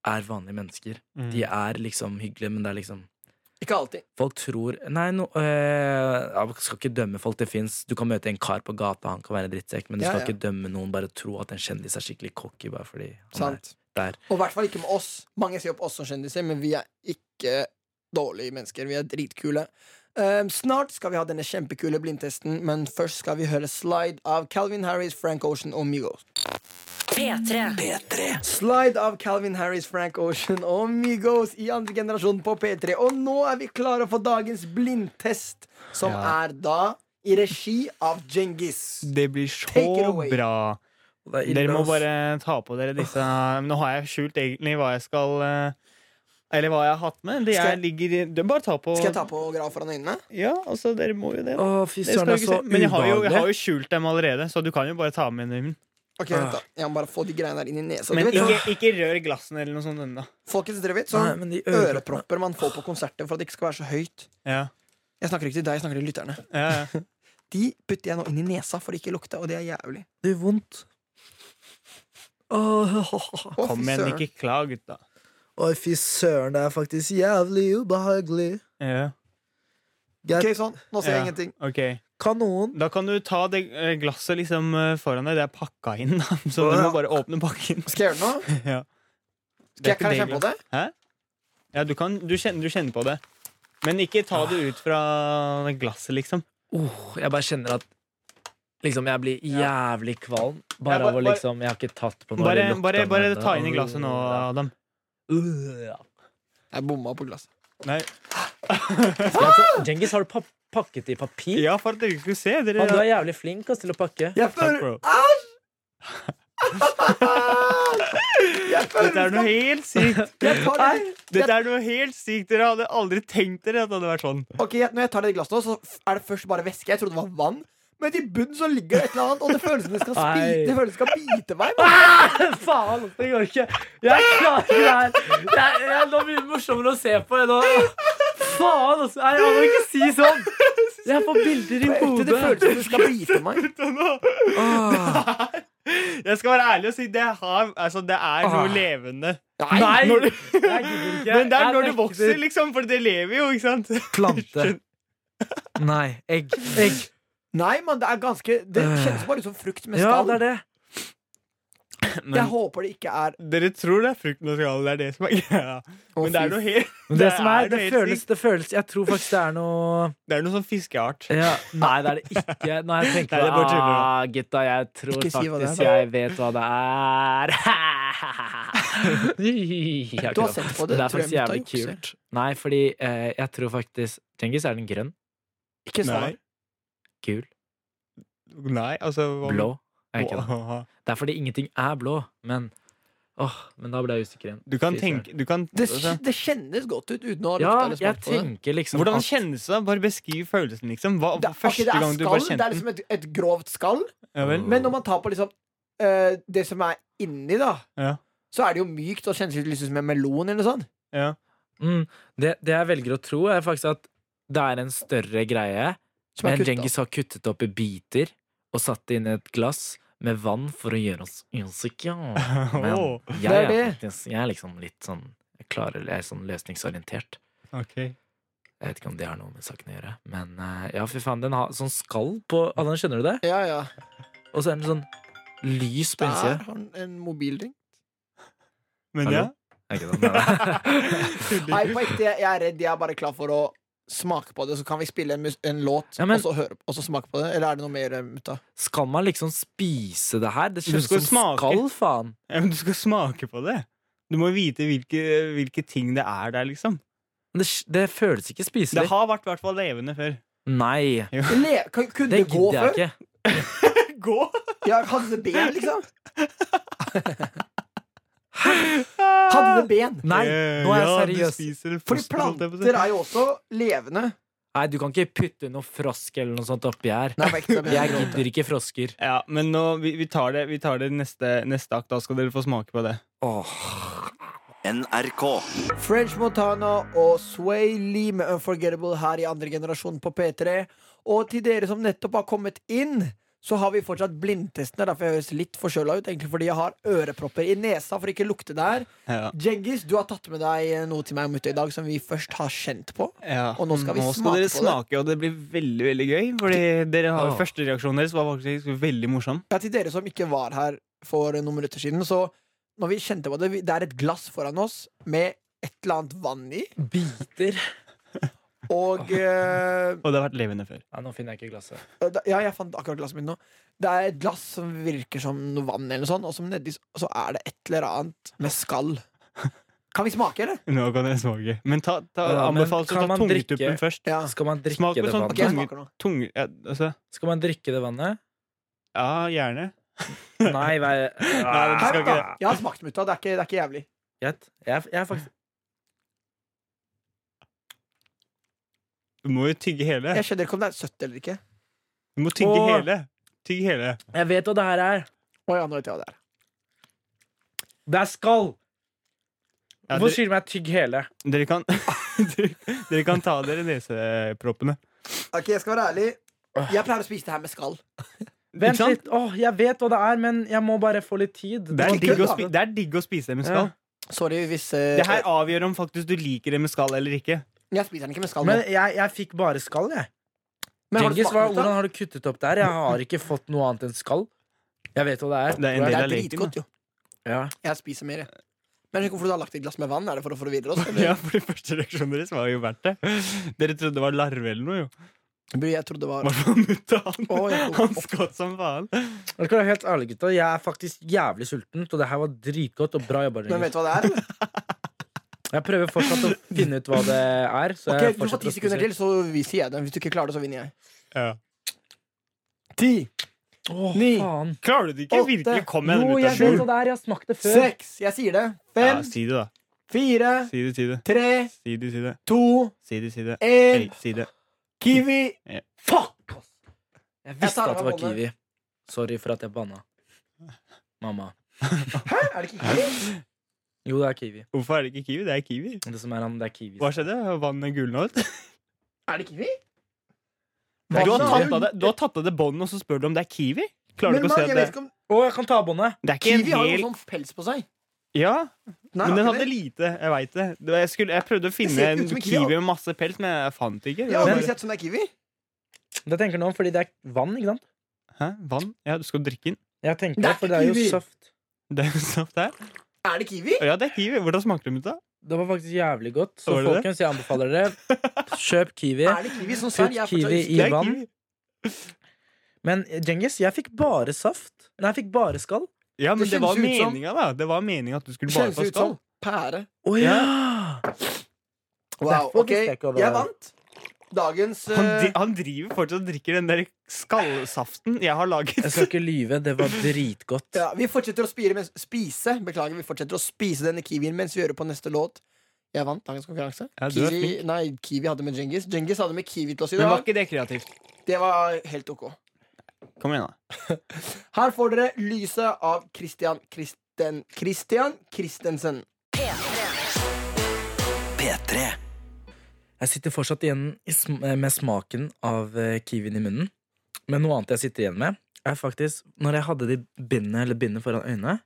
[SPEAKER 4] er vanlige mennesker.
[SPEAKER 3] Mm.
[SPEAKER 4] De er liksom hyggelige, men det er liksom
[SPEAKER 2] Ikke alltid.
[SPEAKER 4] Folk tror Nei, no, øh, jeg skal ikke dømme folk. Det fins Du kan møte en kar på gata, han kan være en drittsekk, men du
[SPEAKER 2] Ja,
[SPEAKER 4] skal
[SPEAKER 2] ja.
[SPEAKER 4] ikke dømme noen. Bare tro at en kjendis er skikkelig cocky bare fordi han
[SPEAKER 2] Sant.
[SPEAKER 4] er der.
[SPEAKER 2] Og i hvert fall ikke med oss. Mange ser jo på oss som kjendiser, men vi er ikke dårlige mennesker. Vi er dritkule. Ehm, snart skal vi ha denne kjempekule blindtesten, men først skal vi høre Slide av Calvin Harris, Frank Ocean og Migos.
[SPEAKER 5] P3.
[SPEAKER 2] Slide av Calvin Harris, Frank Ocean og Migos i andre generasjon på P3. Og nå er vi klare for dagens blindtest, som
[SPEAKER 3] Ja.
[SPEAKER 2] er da i regi av Djengis.
[SPEAKER 3] Det blir
[SPEAKER 2] Take it
[SPEAKER 3] så
[SPEAKER 2] away.
[SPEAKER 3] bra.
[SPEAKER 4] Og det er ille,
[SPEAKER 3] Dere må
[SPEAKER 4] ass.
[SPEAKER 3] bare ta på dere disse Men Nå har jeg skjult egentlig hva jeg skal eh, Eller hva jeg har hatt med. Det
[SPEAKER 2] Skal
[SPEAKER 3] jeg
[SPEAKER 2] jeg-
[SPEAKER 3] ligger i- det- Bare ta på
[SPEAKER 2] Skal jeg ta på graf foran øynene?
[SPEAKER 3] Ja, altså, dere må jo det.
[SPEAKER 4] Å, fy
[SPEAKER 3] det skal
[SPEAKER 4] søren, det
[SPEAKER 3] jeg
[SPEAKER 4] er
[SPEAKER 3] ikke
[SPEAKER 4] så
[SPEAKER 3] si. Men jeg har, jo, jeg har
[SPEAKER 4] ubehagelig.
[SPEAKER 3] jo skjult dem allerede, så du kan jo bare ta med dem.
[SPEAKER 2] Ok, vent da Jeg må bare få de greiene der inn i nesa.
[SPEAKER 3] Ah. Men
[SPEAKER 2] Dere vet,
[SPEAKER 3] ikke, ikke rør glassene eller noe sånt ennå.
[SPEAKER 2] Folkens, dere vet
[SPEAKER 4] Nei,
[SPEAKER 2] sånn
[SPEAKER 4] men de øreproppene
[SPEAKER 2] øreproppene man får på konserter for at det ikke skal være så høyt.
[SPEAKER 3] Ja.
[SPEAKER 2] Jeg snakker ikke til deg, jeg snakker til lytterne.
[SPEAKER 3] Ja, ja.
[SPEAKER 2] De putter jeg nå inn i nesa for å ikke lukte, og det er jævlig.
[SPEAKER 4] Det gjør vondt. Åh,
[SPEAKER 2] Å,
[SPEAKER 3] Kom
[SPEAKER 2] fy
[SPEAKER 3] igjen,
[SPEAKER 2] søren.
[SPEAKER 3] ikke klag, gutta.
[SPEAKER 4] Oi, fy søren, det er faktisk jævlig ubehagelig.
[SPEAKER 3] Ja.
[SPEAKER 4] Greit.
[SPEAKER 2] Ok, sånn. Nå ser
[SPEAKER 3] Ja.
[SPEAKER 2] jeg ingenting.
[SPEAKER 3] Ok.
[SPEAKER 4] Kan noen
[SPEAKER 3] Da kan du ta det eh, glasset liksom eh, foran deg. Det er pakka inn, da. så
[SPEAKER 2] Å,
[SPEAKER 3] du
[SPEAKER 2] ja.
[SPEAKER 3] må bare åpne pakken.
[SPEAKER 2] Skal jeg gjøre noe?
[SPEAKER 3] Ja.
[SPEAKER 2] Skal jeg, kan jeg kjenne på det?
[SPEAKER 3] Ja, du, kan, du, kjenner, du kjenner på det. Men ikke ta det ut fra glasset, liksom.
[SPEAKER 4] Åh, Jeg bare kjenner at liksom, jeg blir jævlig kvalm. Bare,
[SPEAKER 3] Ja, bare-
[SPEAKER 4] av å
[SPEAKER 3] bare-
[SPEAKER 4] liksom Jeg har ikke tatt på noe.
[SPEAKER 3] Bare,
[SPEAKER 4] eller lukta
[SPEAKER 3] bare, bare
[SPEAKER 4] noe.
[SPEAKER 3] ta inn i glasset nå, Adam.
[SPEAKER 4] Øh, ja.
[SPEAKER 2] Jeg bomma på glasset.
[SPEAKER 3] Nei.
[SPEAKER 4] Altså, Djengis, har du pa pakket i papir?
[SPEAKER 3] Ja, for at dere ikke skulle se. Dere,
[SPEAKER 4] Faen, du er jævlig flink ass, til å pakke.
[SPEAKER 2] Jeg
[SPEAKER 3] Takk,
[SPEAKER 2] føler
[SPEAKER 3] bro.
[SPEAKER 2] Jeg føler
[SPEAKER 3] Dette er noe helt sykt.
[SPEAKER 2] Jeg tar det.
[SPEAKER 3] Dette er noe helt sykt. Dere hadde aldri tenkt dere at det hadde vært sånn.
[SPEAKER 2] Ok, jeg- Når jeg tar det i glasset nå, så f- er det først bare væske. Jeg trodde det var vann. Men i bunnen så ligger det et eller annet, og det føles som det skal, spi
[SPEAKER 4] Nei.
[SPEAKER 2] det føles som det skal bite meg. Man.
[SPEAKER 4] Faen, det går ikke. Jeg klarer ikke det her. Det er, det er nå mye morsommere å se på enn å Faen, altså. Nei, Jeg må ikke si sånn. Jeg får bilder i
[SPEAKER 2] Det føles
[SPEAKER 4] hodet.
[SPEAKER 2] som det skal bite meg.
[SPEAKER 4] Åh.
[SPEAKER 3] Jeg skal være ærlig og si det, har, altså, det er noe levende.
[SPEAKER 4] Nei,
[SPEAKER 3] Når du,
[SPEAKER 4] jeg gidder ikke.
[SPEAKER 3] men det er
[SPEAKER 4] Jeg
[SPEAKER 3] når du
[SPEAKER 4] nekter.
[SPEAKER 3] vokser, liksom. For det lever jo, ikke sant?
[SPEAKER 4] Plante. Nei, egg. Egg.
[SPEAKER 2] Nei, men det er ganske Det
[SPEAKER 4] Øh.
[SPEAKER 2] kjennes bare ut som frukt med
[SPEAKER 4] Ja,
[SPEAKER 2] skall.
[SPEAKER 4] det er det.
[SPEAKER 2] jeg håper det ikke er
[SPEAKER 3] Dere tror det er frukt og skall, det er det som er greia.
[SPEAKER 2] Å,
[SPEAKER 3] Men det
[SPEAKER 2] fy
[SPEAKER 3] er noe helt
[SPEAKER 4] Men det, som er,
[SPEAKER 3] noe
[SPEAKER 4] det
[SPEAKER 3] helt
[SPEAKER 4] føles,
[SPEAKER 3] sykt.
[SPEAKER 4] det føles Jeg tror faktisk det er noe
[SPEAKER 3] Det er noe sånn fiskeart.
[SPEAKER 4] ja, Nei, det er det ikke. Nei, jeg
[SPEAKER 3] Nei,
[SPEAKER 4] tenker
[SPEAKER 3] det er bare
[SPEAKER 4] meg,
[SPEAKER 3] tuller, da.
[SPEAKER 4] ah, gutta, jeg tror
[SPEAKER 2] Ikke si hva det er,
[SPEAKER 4] faktisk
[SPEAKER 2] da.
[SPEAKER 4] jeg vet hva det er. Jeg
[SPEAKER 2] Du har
[SPEAKER 4] kødder.
[SPEAKER 2] sett på det,
[SPEAKER 4] Men det
[SPEAKER 2] tror
[SPEAKER 4] er faktisk
[SPEAKER 2] jeg, men
[SPEAKER 4] jævlig
[SPEAKER 2] da jukser.
[SPEAKER 4] kult. Nei, fordi eh, jeg tror faktisk Djengis, er den grønn?
[SPEAKER 2] Ikke svar.
[SPEAKER 3] Nei.
[SPEAKER 4] Gul?
[SPEAKER 3] Nei, altså hva-
[SPEAKER 4] Blå? Jeg kødder.
[SPEAKER 3] Åh.
[SPEAKER 4] Det er fordi ingenting er blå, men Åh, men da ble jeg usikker igjen.
[SPEAKER 3] Du kan
[SPEAKER 4] Fy søren.
[SPEAKER 3] tenke du kan,
[SPEAKER 2] Det,
[SPEAKER 3] altså,
[SPEAKER 2] det kjennes godt ut uten å ha
[SPEAKER 4] Ja,
[SPEAKER 2] lukta eller
[SPEAKER 4] jeg
[SPEAKER 2] smakt på det.
[SPEAKER 4] tenker liksom
[SPEAKER 3] Hvordan
[SPEAKER 4] at-
[SPEAKER 3] kjennes det? Bare beskriv følelsen, liksom. Hva,
[SPEAKER 2] Det, ok,
[SPEAKER 3] første
[SPEAKER 2] det er
[SPEAKER 3] gang du bare
[SPEAKER 2] skall, det
[SPEAKER 3] kjente
[SPEAKER 2] er liksom et, et grovt skall,
[SPEAKER 3] Ja vel?
[SPEAKER 2] men når man tar på liksom eh, det som er inni, da,
[SPEAKER 3] Ja.
[SPEAKER 2] så er det jo mykt og kjennes litt liksom som en melon eller noe sånt.
[SPEAKER 3] Ja.
[SPEAKER 4] Mm, det, det jeg velger å tro, er faktisk at det er en større greie.
[SPEAKER 2] Som er
[SPEAKER 4] Men
[SPEAKER 2] kuttet.
[SPEAKER 4] Djengis har kuttet opp i biter og satt det inn i et glass med vann for å gjøre oss usikre. Men
[SPEAKER 3] Åh,
[SPEAKER 4] jeg
[SPEAKER 2] det er
[SPEAKER 4] er,
[SPEAKER 2] det.
[SPEAKER 4] faktisk, jeg er liksom litt sånn jeg, klarer, jeg er sånn løsningsorientert.
[SPEAKER 3] ok.
[SPEAKER 4] Jeg vet ikke om det har noe med saken å gjøre. Men eh, ja, fy faen, den har sånn skall på Allan, skjønner du det?
[SPEAKER 2] Ja, ja.
[SPEAKER 4] Og så er den sånn lys på
[SPEAKER 2] Der har
[SPEAKER 4] innsida.
[SPEAKER 2] han en mobilring.
[SPEAKER 3] Men
[SPEAKER 4] Hallo?
[SPEAKER 3] ja.
[SPEAKER 4] Er ikke det den der?
[SPEAKER 2] Nei, på ekte, jeg jeg er redd. Jeg er bare klar for å smake på det. Så kan vi spille en, mus en låt
[SPEAKER 4] Ja, men-
[SPEAKER 2] og, så høre, og så smake på det. Eller er det noe mer, eh, mutta?
[SPEAKER 4] Skal man liksom spise det her? Det
[SPEAKER 3] Du
[SPEAKER 4] kjennes
[SPEAKER 3] skal
[SPEAKER 4] som
[SPEAKER 3] smake.
[SPEAKER 4] skall, faen.
[SPEAKER 3] ja, men du skal smake på det. Du må vite hvilke, hvilke ting det er der, liksom.
[SPEAKER 4] Men det, det føles ikke
[SPEAKER 3] Det
[SPEAKER 4] spiselig.
[SPEAKER 3] har vært i hvert fall levende før.
[SPEAKER 4] Nei,
[SPEAKER 2] Le kan- kunne
[SPEAKER 4] det
[SPEAKER 2] det gå
[SPEAKER 4] gidder jeg
[SPEAKER 2] før?
[SPEAKER 4] ikke.
[SPEAKER 3] Gå!
[SPEAKER 2] Ja, hadde det ben, liksom? Hadde det ben?
[SPEAKER 4] Nei,
[SPEAKER 3] Eh,
[SPEAKER 4] nå er jeg seriøs.
[SPEAKER 2] Fordi planter er jo også levende.
[SPEAKER 4] Nei, du kan ikke putte noe frosk eller noe sånt oppi her.
[SPEAKER 2] Nei, på ekte, men-
[SPEAKER 4] Jeg gidder ikke frosker.
[SPEAKER 3] Ja, men nå, vi, vi tar det, vi tar det neste, neste akt. Da skal dere få smake på det.
[SPEAKER 4] Åh.
[SPEAKER 1] NRK.
[SPEAKER 2] French Montana og Sway Lee med Unforgettable her i andre generasjon på P3. Og til dere som nettopp har kommet inn, så har vi fortsatt blindtestene. Derfor jeg høres litt forkjøla ut. Egentlig fordi jeg har ørepropper i nesa for ikke å lukte det her.
[SPEAKER 3] Ja.
[SPEAKER 2] Djengis, du har tatt med deg noe til meg og Mutte i dag som vi først har kjent på.
[SPEAKER 3] Ja.
[SPEAKER 2] Og nå skal vi smake på
[SPEAKER 3] dere
[SPEAKER 2] det.
[SPEAKER 3] smake, og det blir veldig veldig gøy. Fordi dere har
[SPEAKER 4] Åh.
[SPEAKER 3] Førstereaksjonen deres var faktisk veldig morsom.
[SPEAKER 2] Ja, til dere som ikke var her for noen minutter siden, så når vi kjente på det vi- Det er et glass foran oss med et eller annet vann i,
[SPEAKER 4] Biter.
[SPEAKER 2] og eh,
[SPEAKER 3] Og det har vært levende før.
[SPEAKER 4] Ja, nå finner jeg ikke glasset.
[SPEAKER 2] da- Ja, jeg fant akkurat glasset mitt nå. Det er et glass som virker som noe vann, eller noe sånt, og som nedi s- så er det et eller annet med skall. Kan vi smake, eller?
[SPEAKER 3] Nå kan dere smake. Men ta, ta,
[SPEAKER 4] Ja, men
[SPEAKER 3] anbefales å
[SPEAKER 4] kan
[SPEAKER 3] ta
[SPEAKER 4] man drikke-
[SPEAKER 3] tungetuppen først.
[SPEAKER 2] Ja.
[SPEAKER 4] Skal man drikke
[SPEAKER 3] Smak på
[SPEAKER 4] det
[SPEAKER 3] sånn-
[SPEAKER 4] vannet?
[SPEAKER 2] Ok, jeg smaker nå.
[SPEAKER 3] Tung, ja, altså,
[SPEAKER 4] Skal man drikke det vannet?
[SPEAKER 3] ja, gjerne.
[SPEAKER 4] Nei, vei
[SPEAKER 3] Nei, du
[SPEAKER 2] Her,
[SPEAKER 3] skal ikke
[SPEAKER 2] da. Jeg har smakt mutta, det er ikke, det er ikke jævlig.
[SPEAKER 4] Greit. Jeg, er- jeg er faktisk
[SPEAKER 3] Du må jo tygge hele.
[SPEAKER 2] Jeg skjønner ikke om det er søtt eller ikke.
[SPEAKER 3] Du må tygge
[SPEAKER 4] Åh.
[SPEAKER 3] hele. Tygg hele.
[SPEAKER 4] Jeg vet hva det her er.
[SPEAKER 2] Å ja, nå vet jeg hva det er.
[SPEAKER 4] Det er skall!
[SPEAKER 3] Ja,
[SPEAKER 4] Hvorfor
[SPEAKER 3] dere-
[SPEAKER 4] sier du meg tygg hele?
[SPEAKER 3] Dere kan, dere, dere kan ta dere neseproppene.
[SPEAKER 2] Ok, Jeg skal være ærlig. Jeg pleier å spise det her med skall.
[SPEAKER 4] Vent
[SPEAKER 3] sant?
[SPEAKER 4] litt. Åh, jeg vet hva det er, men jeg må bare få litt tid.
[SPEAKER 3] Det er
[SPEAKER 2] Ikke
[SPEAKER 3] digg å,
[SPEAKER 2] kødd,
[SPEAKER 3] spi
[SPEAKER 2] da.
[SPEAKER 3] det er digg å spise
[SPEAKER 4] Ja.
[SPEAKER 3] mescal.
[SPEAKER 2] Sorry hvis eh,
[SPEAKER 3] Det her avgjør om faktisk du liker en mescal eller ikke.
[SPEAKER 2] Jeg spiser den ikke med skall.
[SPEAKER 4] Men
[SPEAKER 2] nå.
[SPEAKER 4] jeg, jeg fikk bare skall, jeg.
[SPEAKER 2] Men har du
[SPEAKER 4] Genghis,
[SPEAKER 2] smakt
[SPEAKER 4] hva,
[SPEAKER 2] mutta?
[SPEAKER 4] hvordan har du kuttet opp der? Jeg har ikke fått noe annet enn skall. Jeg vet hva det er.
[SPEAKER 3] Det er en
[SPEAKER 2] Det
[SPEAKER 3] del
[SPEAKER 2] er
[SPEAKER 3] av leken. da.
[SPEAKER 2] dritgodt, jo.
[SPEAKER 4] Ja.
[SPEAKER 2] Jeg spiser mer, jeg. Men jeg vet ikke hvorfor du har lagt et glass med vann? Er det altså? for å forvirre oss?
[SPEAKER 3] Ja,
[SPEAKER 2] Eller?
[SPEAKER 3] for de første reaksjonen deres var jo verdt det. Dere trodde det var larve eller noe, jo.
[SPEAKER 2] Bro, Jeg trodde det
[SPEAKER 3] I
[SPEAKER 2] var
[SPEAKER 3] hvert fall mutta han.
[SPEAKER 2] Å, jeg tok
[SPEAKER 3] Han
[SPEAKER 2] opp.
[SPEAKER 3] skvatt som faen.
[SPEAKER 4] Jeg skal være helt ærlig, gutta. Jeg er faktisk jævlig sulten, og det her var dritgodt og bra jobba.
[SPEAKER 2] Men
[SPEAKER 4] Genghis.
[SPEAKER 2] vet du hva det er? eller?
[SPEAKER 4] Jeg prøver fortsatt å finne ut hva det er. Så
[SPEAKER 2] Ok,
[SPEAKER 4] jeg
[SPEAKER 2] Du får
[SPEAKER 4] fortsetter
[SPEAKER 2] ti
[SPEAKER 4] å spise.
[SPEAKER 2] sekunder til, så vi sier jeg det. Hvis du ikke klarer det, så vinner jeg.
[SPEAKER 3] Ja.
[SPEAKER 2] Ti,
[SPEAKER 4] Åh,
[SPEAKER 2] Ni.
[SPEAKER 4] faen.
[SPEAKER 3] Klarer du det ikke?
[SPEAKER 2] Åtte.
[SPEAKER 3] Virkelig, kom igjen.
[SPEAKER 4] Jo, jeg
[SPEAKER 3] mutta.
[SPEAKER 4] vet hva det er. Jeg har smakt det før.
[SPEAKER 2] seks, jeg sier det.
[SPEAKER 3] Ja,
[SPEAKER 2] Fem,
[SPEAKER 3] si det, da.
[SPEAKER 2] fire,
[SPEAKER 3] Si det, si det.
[SPEAKER 2] tre,
[SPEAKER 3] Si det, si det.
[SPEAKER 2] to,
[SPEAKER 3] Si det, si det. Hey,
[SPEAKER 2] én.
[SPEAKER 3] si det.
[SPEAKER 2] Kiwi.
[SPEAKER 3] Ja.
[SPEAKER 2] Fuck! ass.
[SPEAKER 4] Jeg
[SPEAKER 2] Jeg tar
[SPEAKER 4] visste at
[SPEAKER 2] av
[SPEAKER 4] det
[SPEAKER 2] meg
[SPEAKER 4] var
[SPEAKER 2] båndet.
[SPEAKER 4] kiwi. Sorry for at jeg banna. Mamma.
[SPEAKER 2] Hæ, er det ikke kiwi?
[SPEAKER 4] Jo, det er kiwi.
[SPEAKER 3] Hvorfor er det ikke kiwi? Det er kiwi.
[SPEAKER 4] Det som er han, det er kiwi.
[SPEAKER 3] Hva skjedde? Vannet gulna ut?
[SPEAKER 2] Er det kiwi?
[SPEAKER 3] Du har
[SPEAKER 2] Vannet er
[SPEAKER 3] tatt
[SPEAKER 2] jo-
[SPEAKER 3] av deg, du har tatt av deg båndet, og så spør du om det er kiwi?
[SPEAKER 2] Men
[SPEAKER 3] Klarer du ikke å
[SPEAKER 2] man,
[SPEAKER 3] se
[SPEAKER 2] jeg
[SPEAKER 3] at det
[SPEAKER 2] vet ikke om
[SPEAKER 4] Å, jeg kan ta av båndet!
[SPEAKER 3] Det er ikke en
[SPEAKER 2] Kiwi har jo
[SPEAKER 3] hel
[SPEAKER 2] sånn pels på seg.
[SPEAKER 3] Ja,
[SPEAKER 2] Nei,
[SPEAKER 3] men
[SPEAKER 2] har
[SPEAKER 3] den hadde
[SPEAKER 2] ikke det?
[SPEAKER 3] lite. Jeg veit det. Det var- Jeg, skulle, jeg prøvde å finne
[SPEAKER 2] ser ikke
[SPEAKER 3] en
[SPEAKER 2] ut som en kiwi,
[SPEAKER 3] kiwi med masse pels, men jeg fant ikke.
[SPEAKER 2] Jeg har
[SPEAKER 3] Det var
[SPEAKER 2] aldri sett sånn der kiwi.
[SPEAKER 4] Det tenker jeg nå, fordi det er vann, ikke sant?
[SPEAKER 3] bare- Hæ? Vann? Ja, du skal drikke den?
[SPEAKER 4] Jeg tenker
[SPEAKER 2] Det
[SPEAKER 4] det,
[SPEAKER 2] er
[SPEAKER 4] for det er jo
[SPEAKER 2] kiwi.
[SPEAKER 4] saft.
[SPEAKER 3] Det er jo sånn det er.
[SPEAKER 2] Er det kiwi?
[SPEAKER 3] Ja, det er kiwi. Hvordan smakte det? Mutta?
[SPEAKER 4] Det var faktisk jævlig godt. Så
[SPEAKER 3] Var det det?
[SPEAKER 4] folkens, jeg anbefaler dere. Kjøp kiwi.
[SPEAKER 2] Er det kiwi sånn
[SPEAKER 4] Putt
[SPEAKER 2] sær? Jeg er
[SPEAKER 4] kiwi
[SPEAKER 2] fortsatt
[SPEAKER 4] I
[SPEAKER 3] Det er
[SPEAKER 4] vann?
[SPEAKER 3] kiwi.
[SPEAKER 4] Men Djengis, jeg fikk bare saft. Nei, jeg fikk bare skall.
[SPEAKER 3] Ja, men
[SPEAKER 2] Det
[SPEAKER 3] det, var
[SPEAKER 2] kjennes ut som-
[SPEAKER 3] meninga, da. Det var meninga at du skulle bare
[SPEAKER 2] Kjennes
[SPEAKER 3] få
[SPEAKER 2] ut som
[SPEAKER 3] skall.
[SPEAKER 2] pære.
[SPEAKER 4] Å ja!
[SPEAKER 2] Wow,
[SPEAKER 4] Derfor
[SPEAKER 2] ok,
[SPEAKER 4] visste jeg ikke hva det
[SPEAKER 2] jeg
[SPEAKER 4] var.
[SPEAKER 2] vant dagens
[SPEAKER 3] Han,
[SPEAKER 2] eh,
[SPEAKER 3] dri- han driver fortsatt og drikker den der skallsaften jeg har laget.
[SPEAKER 4] Jeg skal ikke lyve, det var dritgodt.
[SPEAKER 2] ja, Vi fortsetter å spire mens, spise Beklager, vi fortsetter å spise denne kiwien mens vi hører på neste låt. Jeg vant dagens konkurranse.
[SPEAKER 3] Ja, du er
[SPEAKER 2] kiwi, nei, kiwi hadde med Djengis. Djengis hadde med kiwi til oss i
[SPEAKER 3] Men var
[SPEAKER 2] dag.
[SPEAKER 3] ikke det kreativt?
[SPEAKER 2] Det var helt ok.
[SPEAKER 3] Kom igjen, da.
[SPEAKER 2] Her får dere lyset av Christian Christen, Christian Christensen.
[SPEAKER 1] P3
[SPEAKER 4] Jeg sitter fortsatt igjen i sm eh, med smaken av eh, kiwien i munnen. Men noe annet jeg sitter igjen med, er faktisk Når jeg hadde de bindene eller bindet foran øynene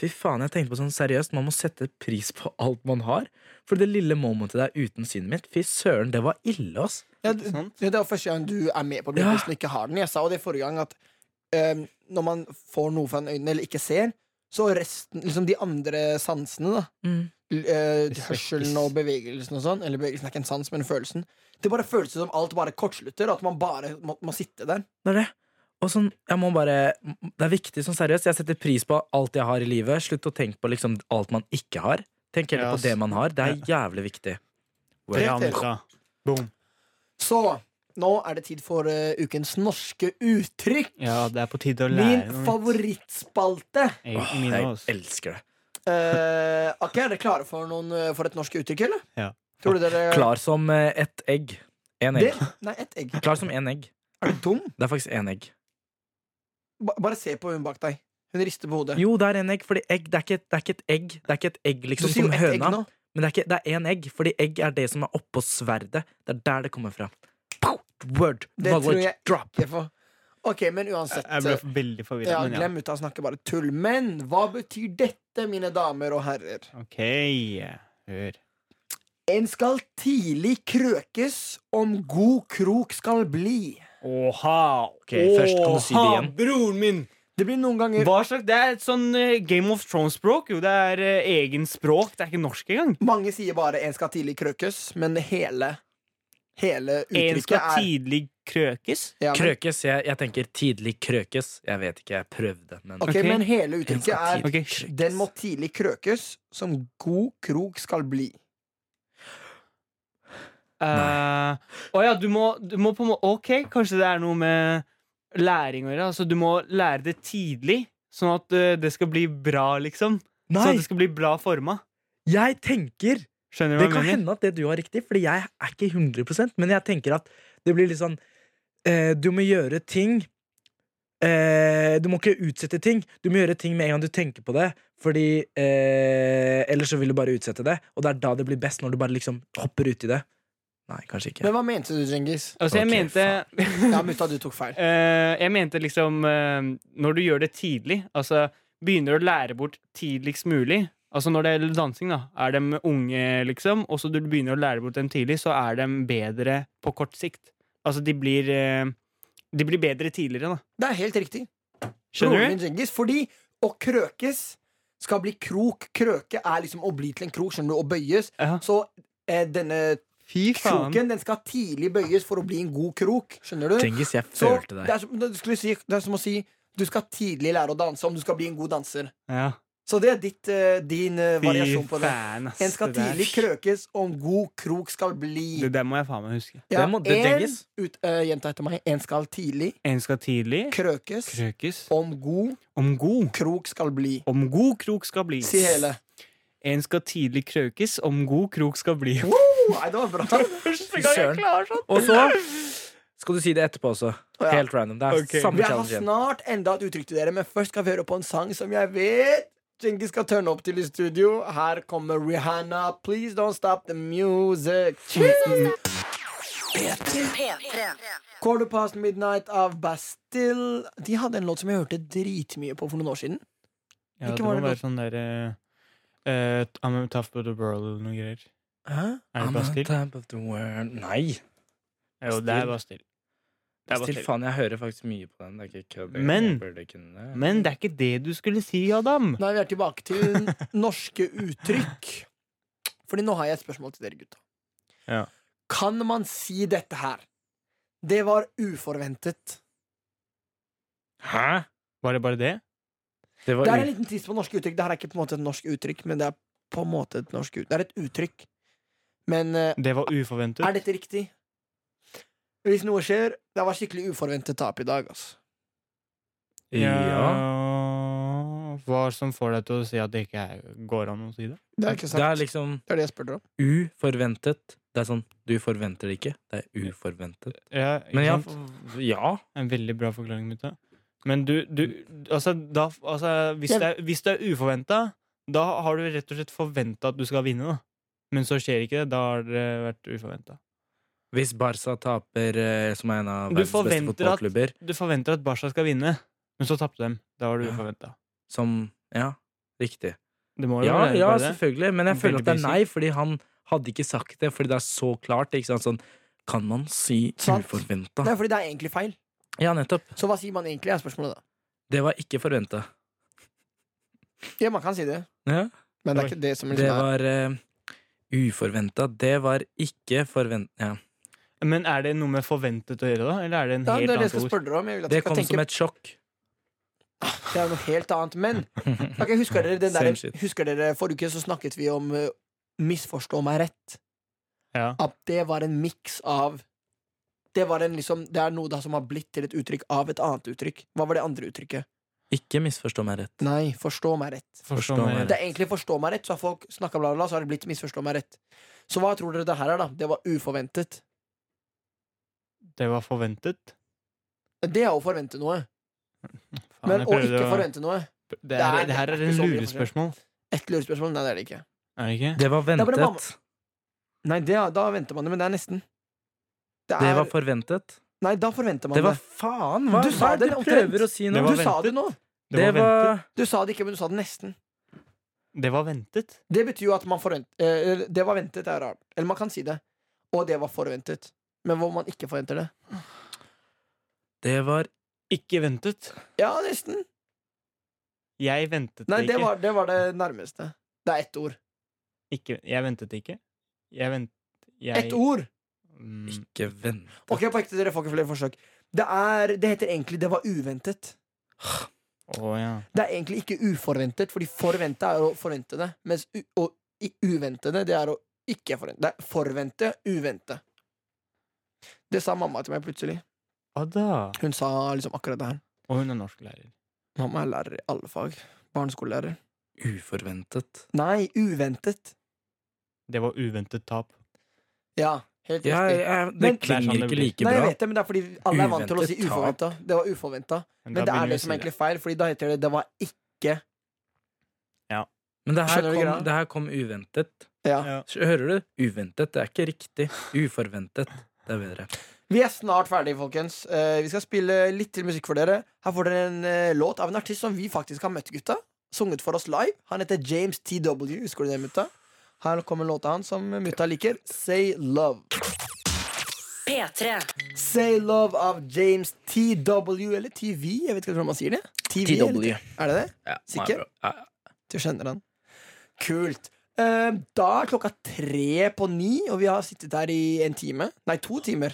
[SPEAKER 4] Fy faen, jeg tenkte på sånn seriøst, man må sette pris på alt man har. For det lille momentet der uten synet mitt, fy søren, det var ille, ass.
[SPEAKER 2] Ja, d-
[SPEAKER 3] sant?
[SPEAKER 2] det var første gang du er med på
[SPEAKER 4] Ja.
[SPEAKER 2] blindtesten og ikke har den. Jeg sa jo det forrige gang at eh, når man får noe fra øynene eller ikke ser, så resten, liksom de andre sansene, da
[SPEAKER 4] Mm.
[SPEAKER 2] l- eh,
[SPEAKER 3] Det
[SPEAKER 2] hørselen
[SPEAKER 3] svekkes.
[SPEAKER 2] og bevegelsen og sånn. Eller bevegelsen er ikke en sans, men følelsen. Det bare føles som alt bare kortslutter, og at man bare må, må sitte der.
[SPEAKER 4] Det er det. Og sånn, jeg må bare Det er viktig, sånn seriøst. Jeg setter pris på alt jeg har i livet. Slutt å tenke på liksom alt man ikke har. Tenk heller
[SPEAKER 3] Ja,
[SPEAKER 4] på det
[SPEAKER 3] ass.
[SPEAKER 4] man har. Det er jævlig viktig.
[SPEAKER 3] Ja,
[SPEAKER 2] Riktig.
[SPEAKER 3] Mutta. Boom.
[SPEAKER 2] Så nå er det tid for eh, ukens norske uttrykk.
[SPEAKER 3] Ja, det er på tide å lære
[SPEAKER 2] Min
[SPEAKER 3] noe.
[SPEAKER 2] favorittspalte.
[SPEAKER 3] Jeg,
[SPEAKER 4] Åh,
[SPEAKER 3] mine
[SPEAKER 4] jeg
[SPEAKER 3] også.
[SPEAKER 4] elsker det.
[SPEAKER 2] Eh, ok, Er dere klare for, noen, eh, for et norsk uttrykk, eller?
[SPEAKER 3] Ja.
[SPEAKER 2] Tror du dere
[SPEAKER 4] Klar som eh, ett egg. Én egg.
[SPEAKER 2] Det? Nei, ett egg.
[SPEAKER 4] Klar som én egg.
[SPEAKER 2] Er du dum?
[SPEAKER 4] Det er faktisk én egg.
[SPEAKER 2] Ba bare se på hun bak deg. Hun rister på hodet.
[SPEAKER 4] Jo, det er én egg, fordi egg det er, ikke, det er ikke et egg. Det er ikke et egg
[SPEAKER 2] du
[SPEAKER 4] liksom
[SPEAKER 2] sier jo
[SPEAKER 4] som
[SPEAKER 2] ett egg
[SPEAKER 4] høna.
[SPEAKER 2] nå.
[SPEAKER 4] Men det er, ikke, det er én egg, fordi egg er det som er oppå sverdet. Det er der det kommer fra. Pow! Word.
[SPEAKER 2] Det tror
[SPEAKER 4] Knowledge.
[SPEAKER 2] jeg
[SPEAKER 4] Drop.
[SPEAKER 2] ikke på. Ok, men uansett. eh,
[SPEAKER 3] Jeg ble veldig forvirra.
[SPEAKER 2] ja,
[SPEAKER 3] men ja.
[SPEAKER 2] glem ut av å snakke, bare tull. Men hva betyr dette, mine damer og herrer?
[SPEAKER 3] Ok, hør.
[SPEAKER 2] En skal tidlig krøkes om god krok skal bli.
[SPEAKER 3] Åha!
[SPEAKER 4] Ok, først kan du si det
[SPEAKER 3] Åha,
[SPEAKER 4] igjen.
[SPEAKER 3] broren min!
[SPEAKER 2] Det blir noen ganger
[SPEAKER 3] Hva slags, Det er et sånn eh, Game of Thrones-språk. Jo, det er eh, egen språk. Det er ikke norsk engang.
[SPEAKER 2] Mange sier bare 'en skal tidlig krøkes', men hele Hele
[SPEAKER 3] En
[SPEAKER 2] uttrykket
[SPEAKER 3] skal
[SPEAKER 2] er
[SPEAKER 3] tidlig krøkes.
[SPEAKER 2] ja, men,
[SPEAKER 4] Krøkes. Jeg, jeg tenker tidlig krøkes. Jeg vet ikke, jeg prøvde, men
[SPEAKER 2] ok,
[SPEAKER 3] Ok.
[SPEAKER 2] men hele uttrykket
[SPEAKER 4] En skal
[SPEAKER 2] er
[SPEAKER 4] tidlig
[SPEAKER 3] Ok,
[SPEAKER 4] krøkes.
[SPEAKER 2] 'den må tidlig krøkes som god krok skal bli'.
[SPEAKER 3] Eh, Å ja, du må, du må på en måte Ok, kanskje det er noe med læring å gjøre. Altså, du må lære det tidlig, sånn at eh, det skal bli bra, liksom. Sånn
[SPEAKER 4] Nei,
[SPEAKER 3] at det skal bli bra forma.
[SPEAKER 4] jeg tenker
[SPEAKER 3] Skjønner du
[SPEAKER 4] Det
[SPEAKER 3] hva
[SPEAKER 4] kan
[SPEAKER 3] jeg mener?
[SPEAKER 4] hende at det du har riktig, Fordi jeg er ikke 100 men jeg tenker at det blir litt sånn eh, Du må gjøre ting eh, Du må ikke utsette ting. Du må gjøre ting med en gang du tenker på det, Fordi eh, ellers så vil du bare utsette det. Og det er da det blir best, når du bare liksom hopper uti det. Nei, kanskje ikke.
[SPEAKER 2] Men hva mente du, Djengis?
[SPEAKER 3] Altså, jeg
[SPEAKER 4] Ok,
[SPEAKER 3] mente
[SPEAKER 2] Ja, mutta, du tok feil.
[SPEAKER 3] Eh, jeg mente liksom eh, Når du gjør det tidlig, altså begynner å lære bort tidligst mulig Altså Når det gjelder dansing, da er de unge, liksom, og så du begynner å lære bort dem tidlig, så er de bedre på kort sikt. Altså de blir eh, De blir bedre tidligere, da.
[SPEAKER 2] Det er helt riktig. Broren
[SPEAKER 3] Skjønner
[SPEAKER 2] min
[SPEAKER 3] du?
[SPEAKER 2] Djengis. Fordi å krøkes skal bli krok. Krøke er liksom å bli til en krok, skjønner du, å bøyes.
[SPEAKER 3] Ja.
[SPEAKER 2] Så eh, denne
[SPEAKER 3] Fy faen.
[SPEAKER 2] kroken den skal tidlig bøyes for å bli en god krok, skjønner du?
[SPEAKER 4] Cengiz, jeg
[SPEAKER 2] Så
[SPEAKER 4] følte
[SPEAKER 2] det
[SPEAKER 4] deg.
[SPEAKER 2] er, som, det, skulle si, det er som å si du skal tidlig lære å danse om du skal bli en god danser.
[SPEAKER 3] Ja.
[SPEAKER 2] Så det er ditt, eh, din eh,
[SPEAKER 3] Fy
[SPEAKER 2] variasjon på det.
[SPEAKER 3] faen, ass.
[SPEAKER 2] En skal
[SPEAKER 3] det der-
[SPEAKER 2] tidlig krøkes om god krok skal bli.
[SPEAKER 3] Det der må jeg faen meg huske.
[SPEAKER 2] Ja,
[SPEAKER 4] det må- det
[SPEAKER 2] en,
[SPEAKER 4] tenkes.
[SPEAKER 2] ut, eh, gjenta etter meg. En skal tidlig
[SPEAKER 3] En skal tidlig
[SPEAKER 2] krøkes
[SPEAKER 3] krøkes
[SPEAKER 2] om god
[SPEAKER 3] om god.
[SPEAKER 2] krok skal bli.
[SPEAKER 3] Om god krok skal bli.
[SPEAKER 2] Si hele.
[SPEAKER 3] En skal tidlig krøkes om god krok skal bli.
[SPEAKER 2] Nei, det var bra.
[SPEAKER 4] Fy søren. Og så skal du si det etterpå også.
[SPEAKER 2] Ja.
[SPEAKER 4] Helt random. Det er
[SPEAKER 3] Ok.
[SPEAKER 4] samme
[SPEAKER 2] Jeg har
[SPEAKER 4] challenge igjen.
[SPEAKER 2] snart enda et uttrykk til dere, men først skal vi høre på en sang som jeg vet Djengis skal tørne opp til i studio. Her kommer Rihanna. Please don't stop the music.
[SPEAKER 5] P3.
[SPEAKER 2] Quarter Past Midnight av Bastille. De hadde en låt som jeg hørte dritmye på for noen år siden.
[SPEAKER 3] Ja,
[SPEAKER 2] Hvilken
[SPEAKER 3] det
[SPEAKER 2] var
[SPEAKER 3] må
[SPEAKER 2] det
[SPEAKER 3] være
[SPEAKER 2] godt?
[SPEAKER 3] sånn derre uh, I'm a tough but a world eller noe greier.
[SPEAKER 4] Hæ?
[SPEAKER 3] Er det
[SPEAKER 4] I'm
[SPEAKER 3] bare
[SPEAKER 4] on
[SPEAKER 3] still?
[SPEAKER 4] top of the world. Nei.
[SPEAKER 3] Jo, det er bare still. Det er bare
[SPEAKER 4] Still,
[SPEAKER 3] still.
[SPEAKER 4] faen, jeg hører faktisk mye på den. Det er ikke kødd.
[SPEAKER 3] Men-
[SPEAKER 4] Jeg burde kunne-
[SPEAKER 3] Men det er ikke det du skulle si, Adam.
[SPEAKER 2] Nei, vi er tilbake til norske uttrykk. Fordi nå har jeg et spørsmål til dere, gutta.
[SPEAKER 3] Ja.
[SPEAKER 2] Kan man si dette her? Det var uforventet.
[SPEAKER 4] Hæ?
[SPEAKER 3] Var det bare det?
[SPEAKER 4] Det var
[SPEAKER 2] Det er en
[SPEAKER 4] u-
[SPEAKER 2] liten tiss på norske uttrykk. Det her er ikke på en måte et norsk uttrykk, men det er på en måte et norsk uttrykk. Det er et uttrykk. Men eh,
[SPEAKER 3] Det var uforventet.
[SPEAKER 2] er dette riktig? Hvis noe skjer Det var skikkelig uforventet tap i dag, altså.
[SPEAKER 4] Ja.
[SPEAKER 3] Ja Hva som får deg til å si at det ikke er, går an å si det?
[SPEAKER 2] Det er ikke
[SPEAKER 4] Det er
[SPEAKER 2] sant.
[SPEAKER 4] liksom
[SPEAKER 2] Det er det jeg spør dere om.
[SPEAKER 4] uforventet. Det er sånn du forventer det ikke. Det er uforventet.
[SPEAKER 3] Ja, ikke
[SPEAKER 4] Men ja,
[SPEAKER 3] sant?
[SPEAKER 4] f- ja.
[SPEAKER 3] En veldig bra forklaring, mutta. Men du, du altså, da, altså hvis,
[SPEAKER 2] Jeg-
[SPEAKER 3] det er, hvis det er uforventa, da har du rett og slett forventa at du skal vinne, da. Men så skjer ikke det. Da har det vært uforventa.
[SPEAKER 4] Hvis Barca taper, eh, som er en av
[SPEAKER 3] Du
[SPEAKER 4] verdens beste
[SPEAKER 3] forventer at-
[SPEAKER 4] fotballklubber,
[SPEAKER 3] Du forventer at Barca skal vinne, men så tapte de. Da var det
[SPEAKER 4] Ja.
[SPEAKER 3] uforventa.
[SPEAKER 4] som Ja, riktig.
[SPEAKER 3] Det må jo
[SPEAKER 4] Ja,
[SPEAKER 3] være
[SPEAKER 4] ja,
[SPEAKER 3] bare det.
[SPEAKER 4] selvfølgelig, men jeg føler at det er
[SPEAKER 3] Veldig
[SPEAKER 4] nei, fordi han hadde ikke sagt det, fordi det er så klart. Ikke sant? Sånn, kan man si
[SPEAKER 2] Sant.
[SPEAKER 4] uforventa?
[SPEAKER 2] Nei, fordi det er egentlig feil.
[SPEAKER 4] Ja, nettopp.
[SPEAKER 2] Så hva sier man egentlig? er spørsmålet da
[SPEAKER 4] Det var ikke forventa.
[SPEAKER 2] Ja, man kan si det,
[SPEAKER 4] Ja.
[SPEAKER 2] men det er ikke det som
[SPEAKER 4] Det
[SPEAKER 2] liksom er
[SPEAKER 4] var uh, uforventa. Det var ikke forventa ja.
[SPEAKER 3] Men er det noe med forventet å gjøre, da? Eller er det en
[SPEAKER 2] ja,
[SPEAKER 3] helt
[SPEAKER 2] det er det jeg skal
[SPEAKER 3] annet ord?
[SPEAKER 2] spørre dere om. Jeg vil at
[SPEAKER 4] Det
[SPEAKER 2] dere
[SPEAKER 4] kom
[SPEAKER 2] skal
[SPEAKER 4] som
[SPEAKER 2] tenke
[SPEAKER 4] et sjokk.
[SPEAKER 2] Det er noe helt annet. Men ok, husker, dere den
[SPEAKER 4] Same
[SPEAKER 2] der,
[SPEAKER 4] shit.
[SPEAKER 2] husker dere forrige uke så snakket vi om eh, misforstå meg rett?
[SPEAKER 3] Ja.
[SPEAKER 2] At det var en miks av det, var en, liksom, det er noe da som har blitt til et uttrykk av et annet uttrykk. Hva var det andre uttrykket?
[SPEAKER 4] Ikke misforstå meg rett.
[SPEAKER 2] Nei, forstå meg rett.
[SPEAKER 3] Forstå
[SPEAKER 4] Forstå
[SPEAKER 3] meg
[SPEAKER 4] meg
[SPEAKER 3] rett.
[SPEAKER 2] Det er egentlig forstå meg rett, så har folk snakka bla, bla, bla, så har det blitt misforstå meg rett. Så hva tror dere det her er, da? Det var uforventet.
[SPEAKER 3] Det var forventet.
[SPEAKER 2] Det er å forvente noe.
[SPEAKER 3] Faen,
[SPEAKER 2] Men
[SPEAKER 3] jeg
[SPEAKER 2] å
[SPEAKER 3] prøvde
[SPEAKER 2] ikke
[SPEAKER 3] å-
[SPEAKER 2] forvente noe.
[SPEAKER 3] Det, er,
[SPEAKER 2] Det er-
[SPEAKER 3] det her
[SPEAKER 2] det
[SPEAKER 3] er
[SPEAKER 2] er
[SPEAKER 3] en
[SPEAKER 2] ikke så mye
[SPEAKER 3] lurespørsmål,
[SPEAKER 2] Ett lurespørsmål? Nei, det er det ikke.
[SPEAKER 3] er det ikke?
[SPEAKER 4] Det var
[SPEAKER 2] er bare
[SPEAKER 4] ventet.
[SPEAKER 2] mamma. Nei, det, er- Da venter man det, men det er nesten. Det
[SPEAKER 4] Det
[SPEAKER 2] er
[SPEAKER 4] var forventet.
[SPEAKER 2] Nei, da forventer man
[SPEAKER 4] Det
[SPEAKER 2] det.
[SPEAKER 4] var faen! Hva
[SPEAKER 2] Du sa
[SPEAKER 4] er det
[SPEAKER 2] det
[SPEAKER 4] du
[SPEAKER 2] omtrent.
[SPEAKER 4] prøver å si
[SPEAKER 3] Det
[SPEAKER 4] nå?
[SPEAKER 3] var
[SPEAKER 2] Du sa det nå.
[SPEAKER 4] Det var
[SPEAKER 2] Du sa det ikke, men du sa det nesten.
[SPEAKER 3] Det var ventet.
[SPEAKER 2] Det betyr jo at man forvent... eh, Det var ventet, er rart. Eller man kan si det. Og det var forventet. Men hvor man ikke forventer det.
[SPEAKER 4] Det var
[SPEAKER 3] Ikke ventet.
[SPEAKER 2] Ja, nesten.
[SPEAKER 3] Jeg ventet
[SPEAKER 2] Nei,
[SPEAKER 3] det
[SPEAKER 2] det
[SPEAKER 3] ikke.
[SPEAKER 2] var det, var det nærmeste. Det er ett ord.
[SPEAKER 3] ikke. Jeg ventet det ikke. Jeg vent... Jeg...
[SPEAKER 2] Ett ord!
[SPEAKER 3] Mm,
[SPEAKER 4] ikke venn.
[SPEAKER 2] Ok, på ekte, dere får ikke flere forsøk. Det, er, det heter egentlig 'det var uventet'.
[SPEAKER 3] Å ja.
[SPEAKER 2] Det er egentlig ikke uforventet, fordi forvente er å forvente det. Mens u og i uventede, det er å ikke forvente. Det er forvente, uvente. Det sa mamma til meg plutselig.
[SPEAKER 3] Hva da?
[SPEAKER 2] Hun sa liksom akkurat det her.
[SPEAKER 3] Og hun er norsklærer.
[SPEAKER 2] Mamma er lærer i alle fag. Barneskolelærer.
[SPEAKER 4] Uforventet.
[SPEAKER 2] Nei, uventet.
[SPEAKER 3] Det var uventet tap.
[SPEAKER 2] Ja, helt
[SPEAKER 4] Ja,
[SPEAKER 2] riktig.
[SPEAKER 4] ja, det
[SPEAKER 2] Men-
[SPEAKER 3] Det er sånn
[SPEAKER 4] klinger
[SPEAKER 3] det
[SPEAKER 4] ikke
[SPEAKER 3] blir.
[SPEAKER 4] like
[SPEAKER 2] Nei, jeg
[SPEAKER 4] bra.
[SPEAKER 2] vet det, men det er fordi alle er vant til å si
[SPEAKER 4] Uventet tap.
[SPEAKER 2] uforventa. Det var uforventa. Men det
[SPEAKER 3] da begynner
[SPEAKER 2] er
[SPEAKER 3] vi å
[SPEAKER 2] det som
[SPEAKER 3] si
[SPEAKER 2] egentlig er feil, Fordi da heter det 'det var ikke'.
[SPEAKER 4] Men det her,
[SPEAKER 2] Skjønner du
[SPEAKER 4] kom,
[SPEAKER 2] greia?
[SPEAKER 4] det her kom uventet.
[SPEAKER 2] Ja.
[SPEAKER 3] Ja.
[SPEAKER 4] Hører du? Uventet. Det er ikke riktig. Uforventet. Det er bedre.
[SPEAKER 2] Vi er snart ferdige, folkens. Eh, vi skal spille litt til musikk for dere. Her får dere en eh, låt av en artist som vi faktisk har møtt, gutta. Sunget for oss live. Han heter James TW. Husker du det, mutta? Her kommer låta hans som mutta liker. Say Love.
[SPEAKER 5] P3.
[SPEAKER 2] Say Love av James TW, eller TV. Jeg vet ikke hvordan man sier det. TV, eller- Er det det?
[SPEAKER 4] Ja,
[SPEAKER 2] Sikker?
[SPEAKER 4] bra. Ja, ja.
[SPEAKER 2] Du kjenner han. Kult. Eh, da er klokka tre på ni, og vi har sittet her i en time. Nei, to timer.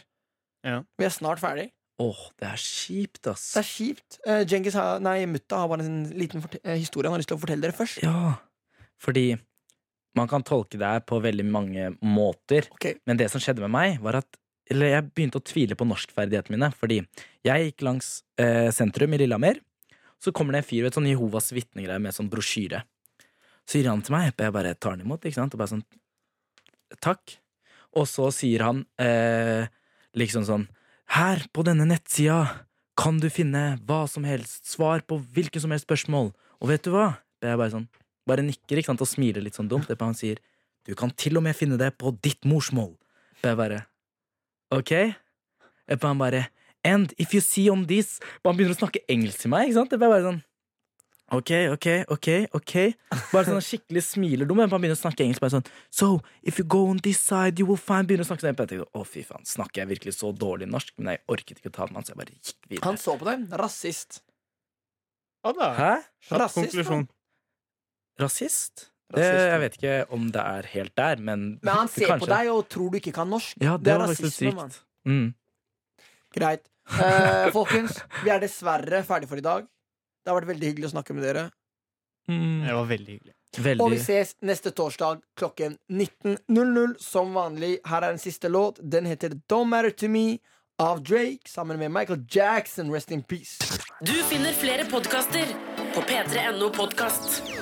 [SPEAKER 3] Ja.
[SPEAKER 2] Vi er snart ferdig.
[SPEAKER 4] Åh, det er kjipt, ass.
[SPEAKER 2] Det er kjipt. Eh, Djengis har, nei, Mutta har bare en liten forte- eh, historie han har lyst til å fortelle dere først.
[SPEAKER 4] Ja, fordi man kan tolke det her på veldig mange måter.
[SPEAKER 2] Ok.
[SPEAKER 4] Men det som skjedde med meg, var at eller jeg begynte å tvile på norskferdighetene mine. Fordi jeg gikk langs eh, sentrum i Lillehammer. Så kommer det en fyr med et sånn Jehovas vitnegreier med sånn brosjyre. Så gir han til meg, og jeg bare tar den imot, ikke sant? Og bare sånn Takk. Og så sier han eh, liksom sånn Her, på denne nettsida, kan du finne hva som helst. Svar på hvilke som helst spørsmål. Og vet du hva? Jeg bare sånn Bare nikker ikke sant, og smiler litt sånn dumt. Det er bare han sier Du kan til og med finne det på ditt morsmål. Jeg bare Ok? Jeg bare, han bare And if you see on this Bare Han begynner å snakke engelsk til meg, ikke sant? Jeg bare sånn Ok, ok, ok, ok Bare sånn skikkelig smilerdum. Jeg bare begynner å snakke engelsk. Bare sånn So, if you go on this side, you will find Begynner å snakke sånn. Jeg bare tenkte, Å, fy faen, snakker jeg virkelig så dårlig norsk? Men jeg orket ikke å ta den med han, så jeg bare gikk videre.
[SPEAKER 2] Han så på deg. Rasist.
[SPEAKER 3] Hva da?
[SPEAKER 4] Hæ?
[SPEAKER 3] Kjapp
[SPEAKER 2] Rasist,
[SPEAKER 3] konklusjon.
[SPEAKER 4] Rasist? Det,
[SPEAKER 2] Rasist, ja.
[SPEAKER 4] jeg vet ikke om det er helt der, men
[SPEAKER 2] Men han ser på
[SPEAKER 4] kanskje.
[SPEAKER 2] deg og tror du ikke kan norsk.
[SPEAKER 4] Ja, det,
[SPEAKER 2] Det er
[SPEAKER 4] var faktisk
[SPEAKER 2] rasisme, mann.
[SPEAKER 4] sykt. Mm.
[SPEAKER 2] Greit. Eh, folkens, vi er dessverre ferdig for i dag. Det har vært veldig hyggelig å snakke med dere.
[SPEAKER 3] Det var veldig hyggelig.
[SPEAKER 2] Og vi
[SPEAKER 4] Veldig
[SPEAKER 2] ses neste torsdag klokken 19.00 som vanlig. Her er den siste låt. Den heter Don't Matter To Me av Drake sammen med Michael Jackson. Rest in peace.
[SPEAKER 5] Du finner flere podkaster på p3.no podkast.